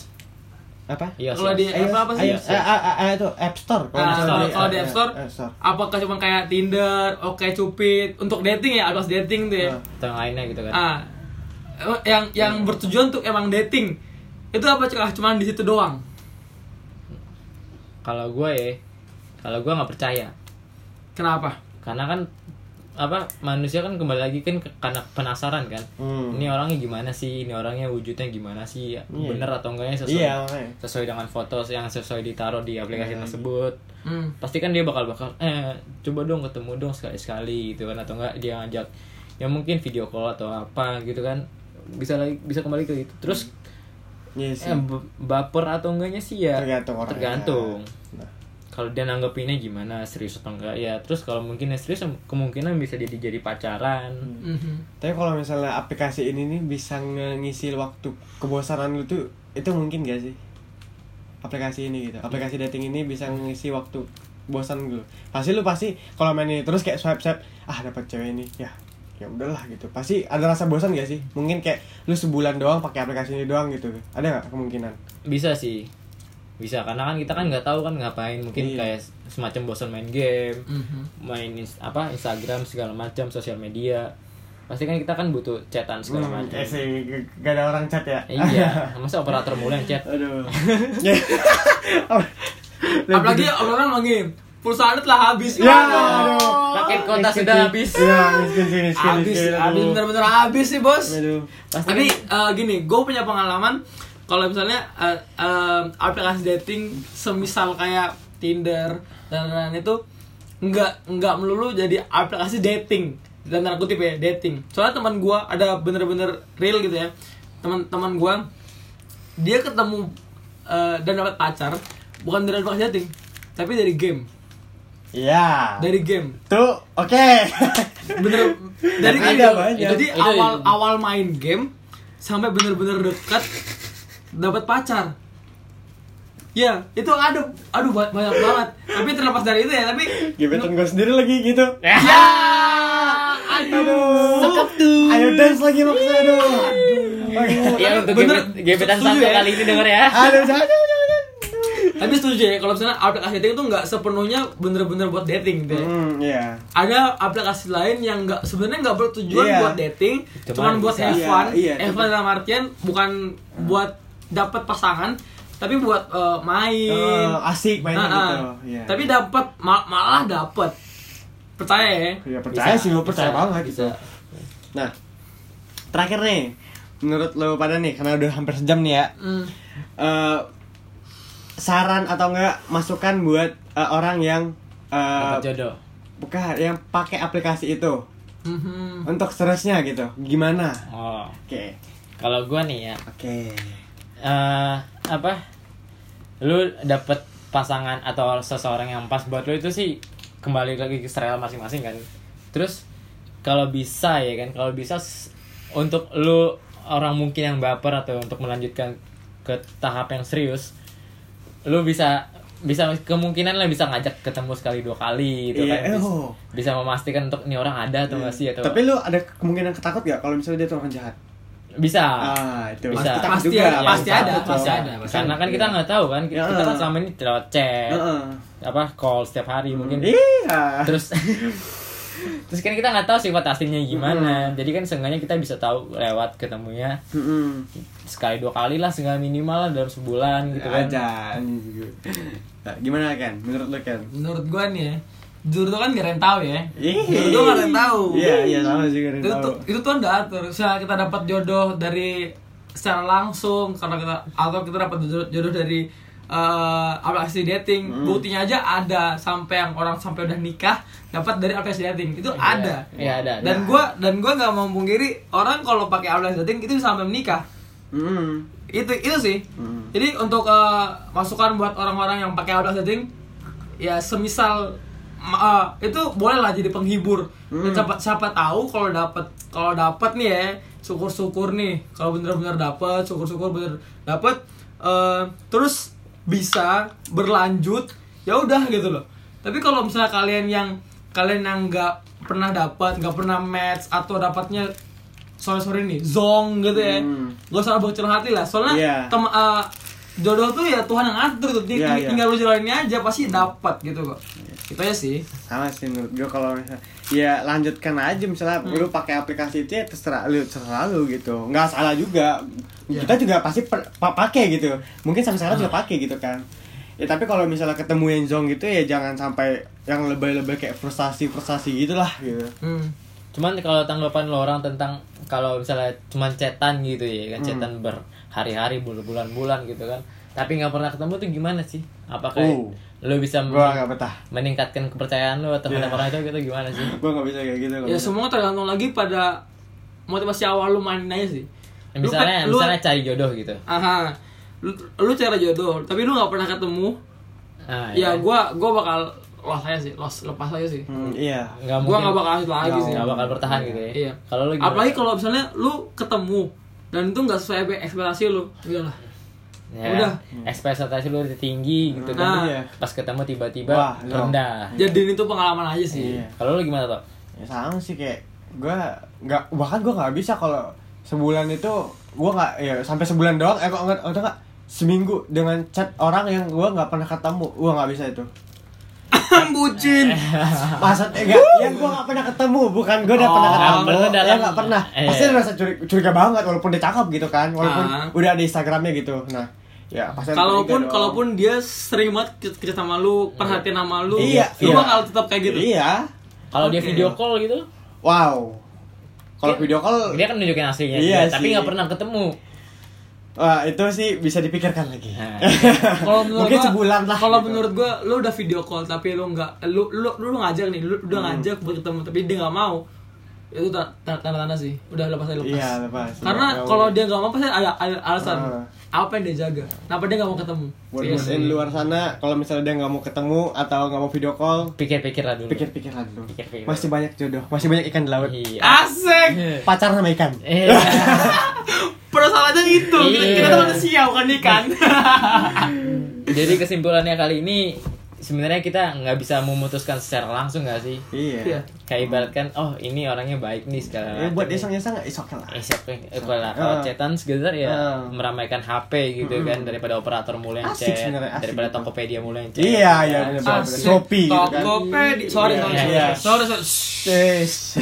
Speaker 1: apa
Speaker 3: iOS
Speaker 2: Kalau di-
Speaker 1: Ayo,
Speaker 2: apa- apa sih?
Speaker 1: ayo, eh, eh, eh, eh, itu App Store
Speaker 2: Eh, kalau
Speaker 1: misalnya
Speaker 2: kalau di App Store,
Speaker 1: eh, App Store
Speaker 2: apakah cuma kayak Tinder, Oke Cupid, untuk dating ya, aplikasi dating tuh ya.
Speaker 1: Eh.
Speaker 3: atau yang lainnya gitu kan
Speaker 2: Ah, eh, yang yang bertujuan untuk emang dating itu apa cuma cuman di situ doang?
Speaker 3: kalau gue ya kalau gue nggak percaya
Speaker 2: Kenapa?
Speaker 3: karena kan apa manusia kan kembali lagi kan ke- karena penasaran kan
Speaker 1: Hmm.
Speaker 3: ini orangnya gimana sih ini orangnya wujudnya gimana sih bener atau enggaknya sesuai
Speaker 1: iya makanya.
Speaker 3: sesuai dengan foto yang sesuai ditaruh di aplikasi tersebut
Speaker 2: Hmm.
Speaker 3: pasti kan dia bakal bakal eh coba dong ketemu dong sekali sekali gitu kan atau enggak dia ngajak ya mungkin video call atau apa gitu kan bisa lagi bisa kembali ke itu terus
Speaker 1: Iya sih
Speaker 3: eh, b- baper atau enggaknya sih ya
Speaker 1: tergantung orangnya
Speaker 3: tergantung
Speaker 1: Nah.
Speaker 3: kalau dia nanggepinnya gimana serius atau enggak ya terus kalau mungkin yang serius kemungkinan bisa jadi jadi pacaran
Speaker 1: Hmm.
Speaker 2: Mhm.
Speaker 1: Tapi kalau misalnya aplikasi ini nih bisa nge- ngisi waktu kebosanan lu tuh itu mungkin gak sih? Aplikasi ini gitu. Aplikasi dating ini bisa ngisi waktu bosan lu. Pasti lu pasti kalau main ini terus kayak swipe swipe, ah dapat cewek ini. Ya, ya udahlah gitu. Pasti ada rasa bosan gak sih? Mungkin kayak lu sebulan doang pakai aplikasi ini doang gitu. Ada nggak kemungkinan?
Speaker 3: bisa sih bisa karena kan kita kan nggak tahu kan ngapain mungkin
Speaker 1: Iya.
Speaker 3: kayak semacam bosan main game
Speaker 2: Mhm.
Speaker 3: main ins- apa Instagram segala macam sosial media pasti kan kita kan butuh chatan segala
Speaker 1: Hmm,
Speaker 3: macam
Speaker 1: eh sih, g- gak ada orang chat ya?
Speaker 3: iya masa operator mulu yang chat
Speaker 1: [laughs] Aduh. [laughs] Oh,
Speaker 2: Apalagi orang lagi pulsa anda telah habis.
Speaker 1: Ya,
Speaker 2: Waduh.
Speaker 1: aduh.
Speaker 3: paket kuota sudah habis
Speaker 1: Iya, miskin sih, miskin,
Speaker 2: Habis,
Speaker 1: miskin,
Speaker 2: habis
Speaker 1: aduh.
Speaker 2: bener-bener habis sih bos.
Speaker 1: Aduh.
Speaker 3: pasti
Speaker 2: Tapi eh, gini, gue punya pengalaman kalau misalnya eh, eh, aplikasi dating semisal kayak Tinder dan lain-lain itu nggak nggak melulu jadi aplikasi dating dan tanda kutip ya dating. Soalnya teman gue ada bener-bener real gitu ya teman-teman gue dia ketemu eh, dan dapat pacar bukan dari aplikasi dating tapi dari game
Speaker 1: Iya.
Speaker 2: dari game
Speaker 1: Tuh, oke.
Speaker 2: bener dari
Speaker 1: Ada
Speaker 2: itu,
Speaker 1: banyak.
Speaker 2: jadi
Speaker 3: Itu-
Speaker 2: awal awal main game sampai bener-bener dekat dapat pacar ya itu ada aduh ba- banyak banget tapi terlepas dari itu ya tapi
Speaker 1: Gebetan gue sendiri lagi gitu.
Speaker 2: ya aduh
Speaker 1: Aduh. Ayo dance lagi maksudnya aduh.
Speaker 3: ya untuk
Speaker 2: Bener.
Speaker 3: gebet- gebetan
Speaker 2: Setuju
Speaker 3: satu
Speaker 2: ya.
Speaker 3: kali ini denger ya
Speaker 1: Aduh, jangan. jangan, jangan.
Speaker 2: tapi setuju ya kalau misalnya aplikasi dating itu nggak sepenuhnya bener-bener buat dating gitu ya.
Speaker 1: Hmm, iya.
Speaker 2: ada aplikasi lain yang nggak sebenarnya nggak bertujuan
Speaker 1: Iya.
Speaker 2: buat dating,
Speaker 3: Cuman
Speaker 2: cuman, buat
Speaker 3: bisa.
Speaker 2: have fun.
Speaker 1: Iya, iya,
Speaker 2: have fun dalam artian bukan buat dapat pasangan, tapi buat eh, main.
Speaker 1: Eh, asik mainnya
Speaker 2: Ah, ah.
Speaker 1: gitu. Iya.
Speaker 2: Tapi dapat mal- malah dapat. Percaya
Speaker 1: ya
Speaker 2: ya?
Speaker 1: percaya
Speaker 3: Bisa,
Speaker 1: sih gue percaya
Speaker 3: bisa,
Speaker 1: banget
Speaker 3: bisa.
Speaker 1: gitu. Nah, terakhir nih. Menurut lo pada nih karena udah hampir sejam nih ya.
Speaker 2: Hmm.
Speaker 1: Eh, saran atau enggak masukan buat eh, orang yang eh,
Speaker 3: Dapat jodoh.
Speaker 1: bukan yang pakai aplikasi itu
Speaker 2: Mhm.
Speaker 1: untuk seterusnya gitu gimana
Speaker 3: Oh,
Speaker 1: oke
Speaker 3: kalau gua nih ya
Speaker 1: oke
Speaker 3: eh apa lu dapet pasangan atau seseorang yang pas buat lu itu sih kembali lagi ke style masing-masing kan terus kalau bisa ya kan kalau bisa s- untuk lu orang mungkin yang baper atau untuk melanjutkan ke tahap yang serius lu bisa bisa kemungkinan lah bisa ngajak ketemu sekali dua kali gitu
Speaker 1: Iya,
Speaker 3: kan Bis-
Speaker 1: oh. Iya.
Speaker 3: bisa memastikan untuk ini orang ada atau enggak sih atau
Speaker 1: tapi lu ada kemungkinan ketakut gak kalau misalnya dia tuh orang jahat
Speaker 3: bisa
Speaker 1: ah itu
Speaker 3: Bisa.
Speaker 1: Takut
Speaker 2: Pasti
Speaker 1: juga,
Speaker 3: Iya,
Speaker 2: ada,
Speaker 1: takut,
Speaker 2: pasti ada,
Speaker 1: takut,
Speaker 2: pasti
Speaker 1: coy.
Speaker 2: ada.
Speaker 3: karena kan kita nggak tahu kan kita
Speaker 1: Ya.
Speaker 3: kan selama ini lewat chat
Speaker 1: Heeh.
Speaker 3: apa call setiap hari mungkin
Speaker 1: iya
Speaker 3: terus [laughs] terus kan kita nggak tahu sifat aslinya gimana
Speaker 1: Iya.
Speaker 3: jadi kan seenggaknya kita bisa tahu lewat ketemunya
Speaker 1: Mm-mm.
Speaker 3: sekali dua kali lah seenggaknya minimal lah dalam sebulan gitu kan
Speaker 1: aja Nah, gimana kan menurut lu kan
Speaker 2: menurut gua nih ya jodoh kan gak ada yang tahu ya
Speaker 1: Ih.
Speaker 2: jodoh gak ada yang tahu
Speaker 1: iya iya sama juga
Speaker 2: itu tuh itu tuh ada atur misalnya kita dapat jodoh dari secara langsung karena kita atau kita dapat jodoh, jodoh dari eh, aplikasi dating
Speaker 1: Hmm.
Speaker 2: buktinya aja ada sampai yang orang sampai udah nikah dapat dari aplikasi dating itu ada
Speaker 3: Iya, ada, ada.
Speaker 2: dan gua dan gua nggak mau memungkiri orang kalau pakai aplikasi dating itu bisa sampai menikah itu itu sih
Speaker 1: Hmm.
Speaker 2: jadi untuk eh, masukan buat orang-orang yang pakai audio setting ya semisal ma- eh, itu boleh lah jadi penghibur Dan siapa siapa tahu kalau dapat kalau dapat nih ya syukur-syukur nih kalau bener-bener dapat syukur-syukur bener dapat eh, terus bisa berlanjut ya udah gitu loh tapi kalau misalnya kalian yang kalian yang nggak pernah dapat nggak pernah match atau dapatnya sore-sore nih zong gitu ya
Speaker 1: Hmm.
Speaker 2: gak usah bocor hati lah soalnya
Speaker 1: Iya.
Speaker 2: tem- eh, jodoh tuh ya Tuhan yang ngatur tuh Ting-
Speaker 1: Iya, iya.
Speaker 2: tinggal lu jalaninnya aja pasti dapat gitu kok itu aja sih
Speaker 1: sama sih menurut gue kalau misalnya ya lanjutkan aja misalnya lu pakai aplikasi itu ya terserah lu terserah lu gitu nggak salah juga kita juga pasti per- pa- pakai gitu mungkin sampai sekarang juga pakai gitu kan ya tapi kalau misalnya ketemu yang zong gitu ya jangan sampai yang lebay-lebay kayak frustasi frustasi gitulah gitu
Speaker 2: hmm.
Speaker 3: cuman kalau tanggapan lo orang tentang kalau misalnya cuman cetan gitu ya
Speaker 1: Hmm.
Speaker 3: kan cetan berhari-hari berbulan-bulan gitu kan tapi nggak pernah ketemu tuh gimana sih apakah
Speaker 1: Oh.
Speaker 3: lo bisa
Speaker 1: gua nggak betah
Speaker 3: meningkatkan kepercayaan lo terhadap
Speaker 1: Iya.
Speaker 3: orang itu gitu gimana sih
Speaker 1: gua nggak bisa kayak gitu kalau
Speaker 2: ya
Speaker 1: bisa.
Speaker 2: semua tergantung lagi pada motivasi awal lu mainin aja sih Lu
Speaker 3: Ya, misalnya
Speaker 2: kan- lu-
Speaker 3: misalnya cari jodoh gitu
Speaker 2: aha lu, lu cara jodoh tapi lu nggak pernah ketemu
Speaker 1: Ah,
Speaker 3: nah,
Speaker 1: iya.
Speaker 2: ya gua gua bakal lost aja sih lost lepas aja sih
Speaker 1: Hmm, iya
Speaker 3: nggak
Speaker 2: gua
Speaker 3: mungkin-
Speaker 2: nggak bakal lanjut lagi sih
Speaker 3: nggak bakal bertahan gitu ya.
Speaker 2: Iya.
Speaker 3: Kalau lu gimana?
Speaker 2: apalagi kalau misalnya lu ketemu dan itu nggak sesuai ekspektasi lu udahlah
Speaker 3: ya,
Speaker 2: udah.
Speaker 3: udah ekspektasi lu udah tinggi gitu kan.
Speaker 2: Nah.
Speaker 1: Iya.
Speaker 3: Pas ketemu tiba-tiba
Speaker 1: Wah, no.
Speaker 3: rendah.
Speaker 2: jadiin itu pengalaman aja
Speaker 1: Ah,
Speaker 2: sih
Speaker 1: Iya.
Speaker 3: Kalau lu gimana toh?
Speaker 1: ya sama sih kayak gue nggak bahkan gue nggak bisa kalau sebulan itu gue nggak ya sampai sebulan doang eh kok nggak atau nggak seminggu dengan chat orang yang gue nggak pernah ketemu gue nggak bisa
Speaker 2: [laughs]
Speaker 1: itu
Speaker 2: bucin
Speaker 1: maksudnya enggak yang gue eh, nggak pernah ketemu bukan gue udah
Speaker 2: Oh,
Speaker 1: pernah ketemu
Speaker 3: berarti
Speaker 1: ya
Speaker 3: dalam-
Speaker 1: nggak pernah
Speaker 3: eh.
Speaker 1: pasti ada rasa curiga, curiga banget walaupun dia cakep gitu kan walaupun
Speaker 2: Ah.
Speaker 1: udah ada instagramnya gitu nah ya pasti ada
Speaker 2: kalaupun
Speaker 1: curiga dong.
Speaker 2: kalaupun dia sering banget ke- kerja sama lu perhatian sama lu
Speaker 1: Iya,
Speaker 2: lu
Speaker 1: iya.
Speaker 2: bakal tetap kayak gitu
Speaker 1: iya
Speaker 3: Kalau dia
Speaker 2: Oke.
Speaker 3: video call gitu,
Speaker 1: wow kalau
Speaker 2: Iya.
Speaker 1: video call
Speaker 3: dia kan nunjukin aslinya
Speaker 1: Iya
Speaker 3: dia, tapi
Speaker 1: sih.
Speaker 3: nggak pernah ketemu.
Speaker 1: wah, itu sih bisa dipikirkan lagi [laughs]
Speaker 3: Nah.
Speaker 2: kalau menurut
Speaker 1: Mungkin
Speaker 2: gua-
Speaker 1: sebulan lah,
Speaker 2: kalau
Speaker 1: gitu.
Speaker 2: menurut gua lu udah video call tapi lu nggak lu lu lu ngajak nih lu
Speaker 1: Hmm.
Speaker 2: udah ngajak buat ketemu tapi dia nggak mau itu ta- ta- tanda-tanda sih udah lepas aja lepas
Speaker 1: Iya, lepas.
Speaker 2: karena
Speaker 1: Nggak
Speaker 2: kalau
Speaker 1: boleh.
Speaker 2: dia nggak mau pasti ada, ada alasan
Speaker 1: Ah.
Speaker 2: apa yang dia jaga kenapa dia nggak mau ketemu
Speaker 1: buat
Speaker 2: Iya
Speaker 1: yes,
Speaker 2: sih.
Speaker 1: luar sana kalau misalnya dia nggak mau ketemu atau nggak mau video call
Speaker 3: Pikir-pikir lah dulu.
Speaker 1: pikir-pikir lah dulu
Speaker 3: Pikir-pikir.
Speaker 1: masih banyak jodoh masih banyak ikan di laut
Speaker 3: Iya.
Speaker 2: asik
Speaker 1: pacar sama ikan
Speaker 3: Eh, [laughs]
Speaker 2: persoalannya itu kita,
Speaker 3: Iya.
Speaker 2: kita tuh manusia bukan ikan
Speaker 1: Iya.
Speaker 3: jadi kesimpulannya kali ini sebenarnya kita nggak bisa memutuskan secara langsung nggak sih?
Speaker 2: Iya.
Speaker 1: iya
Speaker 3: Kayak ibaratkan oh ini orangnya baik nih
Speaker 1: ya,
Speaker 3: segala
Speaker 1: buat
Speaker 3: macam.
Speaker 1: iseng-iseng nggak isok lah
Speaker 3: Eh, siapa yang- eh, kalau- kalau
Speaker 1: Ah.
Speaker 3: chatan sekedar ya
Speaker 1: Ah.
Speaker 3: meramaikan HP gitu kan daripada operator mulai yang
Speaker 1: Asik
Speaker 3: chat,
Speaker 1: sebenarnya, asik
Speaker 3: daripada
Speaker 1: gitu.
Speaker 3: Tokopedia mulai yang chat.
Speaker 1: iya iya
Speaker 3: kan.
Speaker 1: bener
Speaker 2: Asik.
Speaker 1: Shopee gitu kan
Speaker 2: eh, Tokopedia. Sorry,
Speaker 3: Iya,
Speaker 2: sorry,
Speaker 3: iya.
Speaker 2: sånn, sorry, sorry, sorry.
Speaker 1: Yes.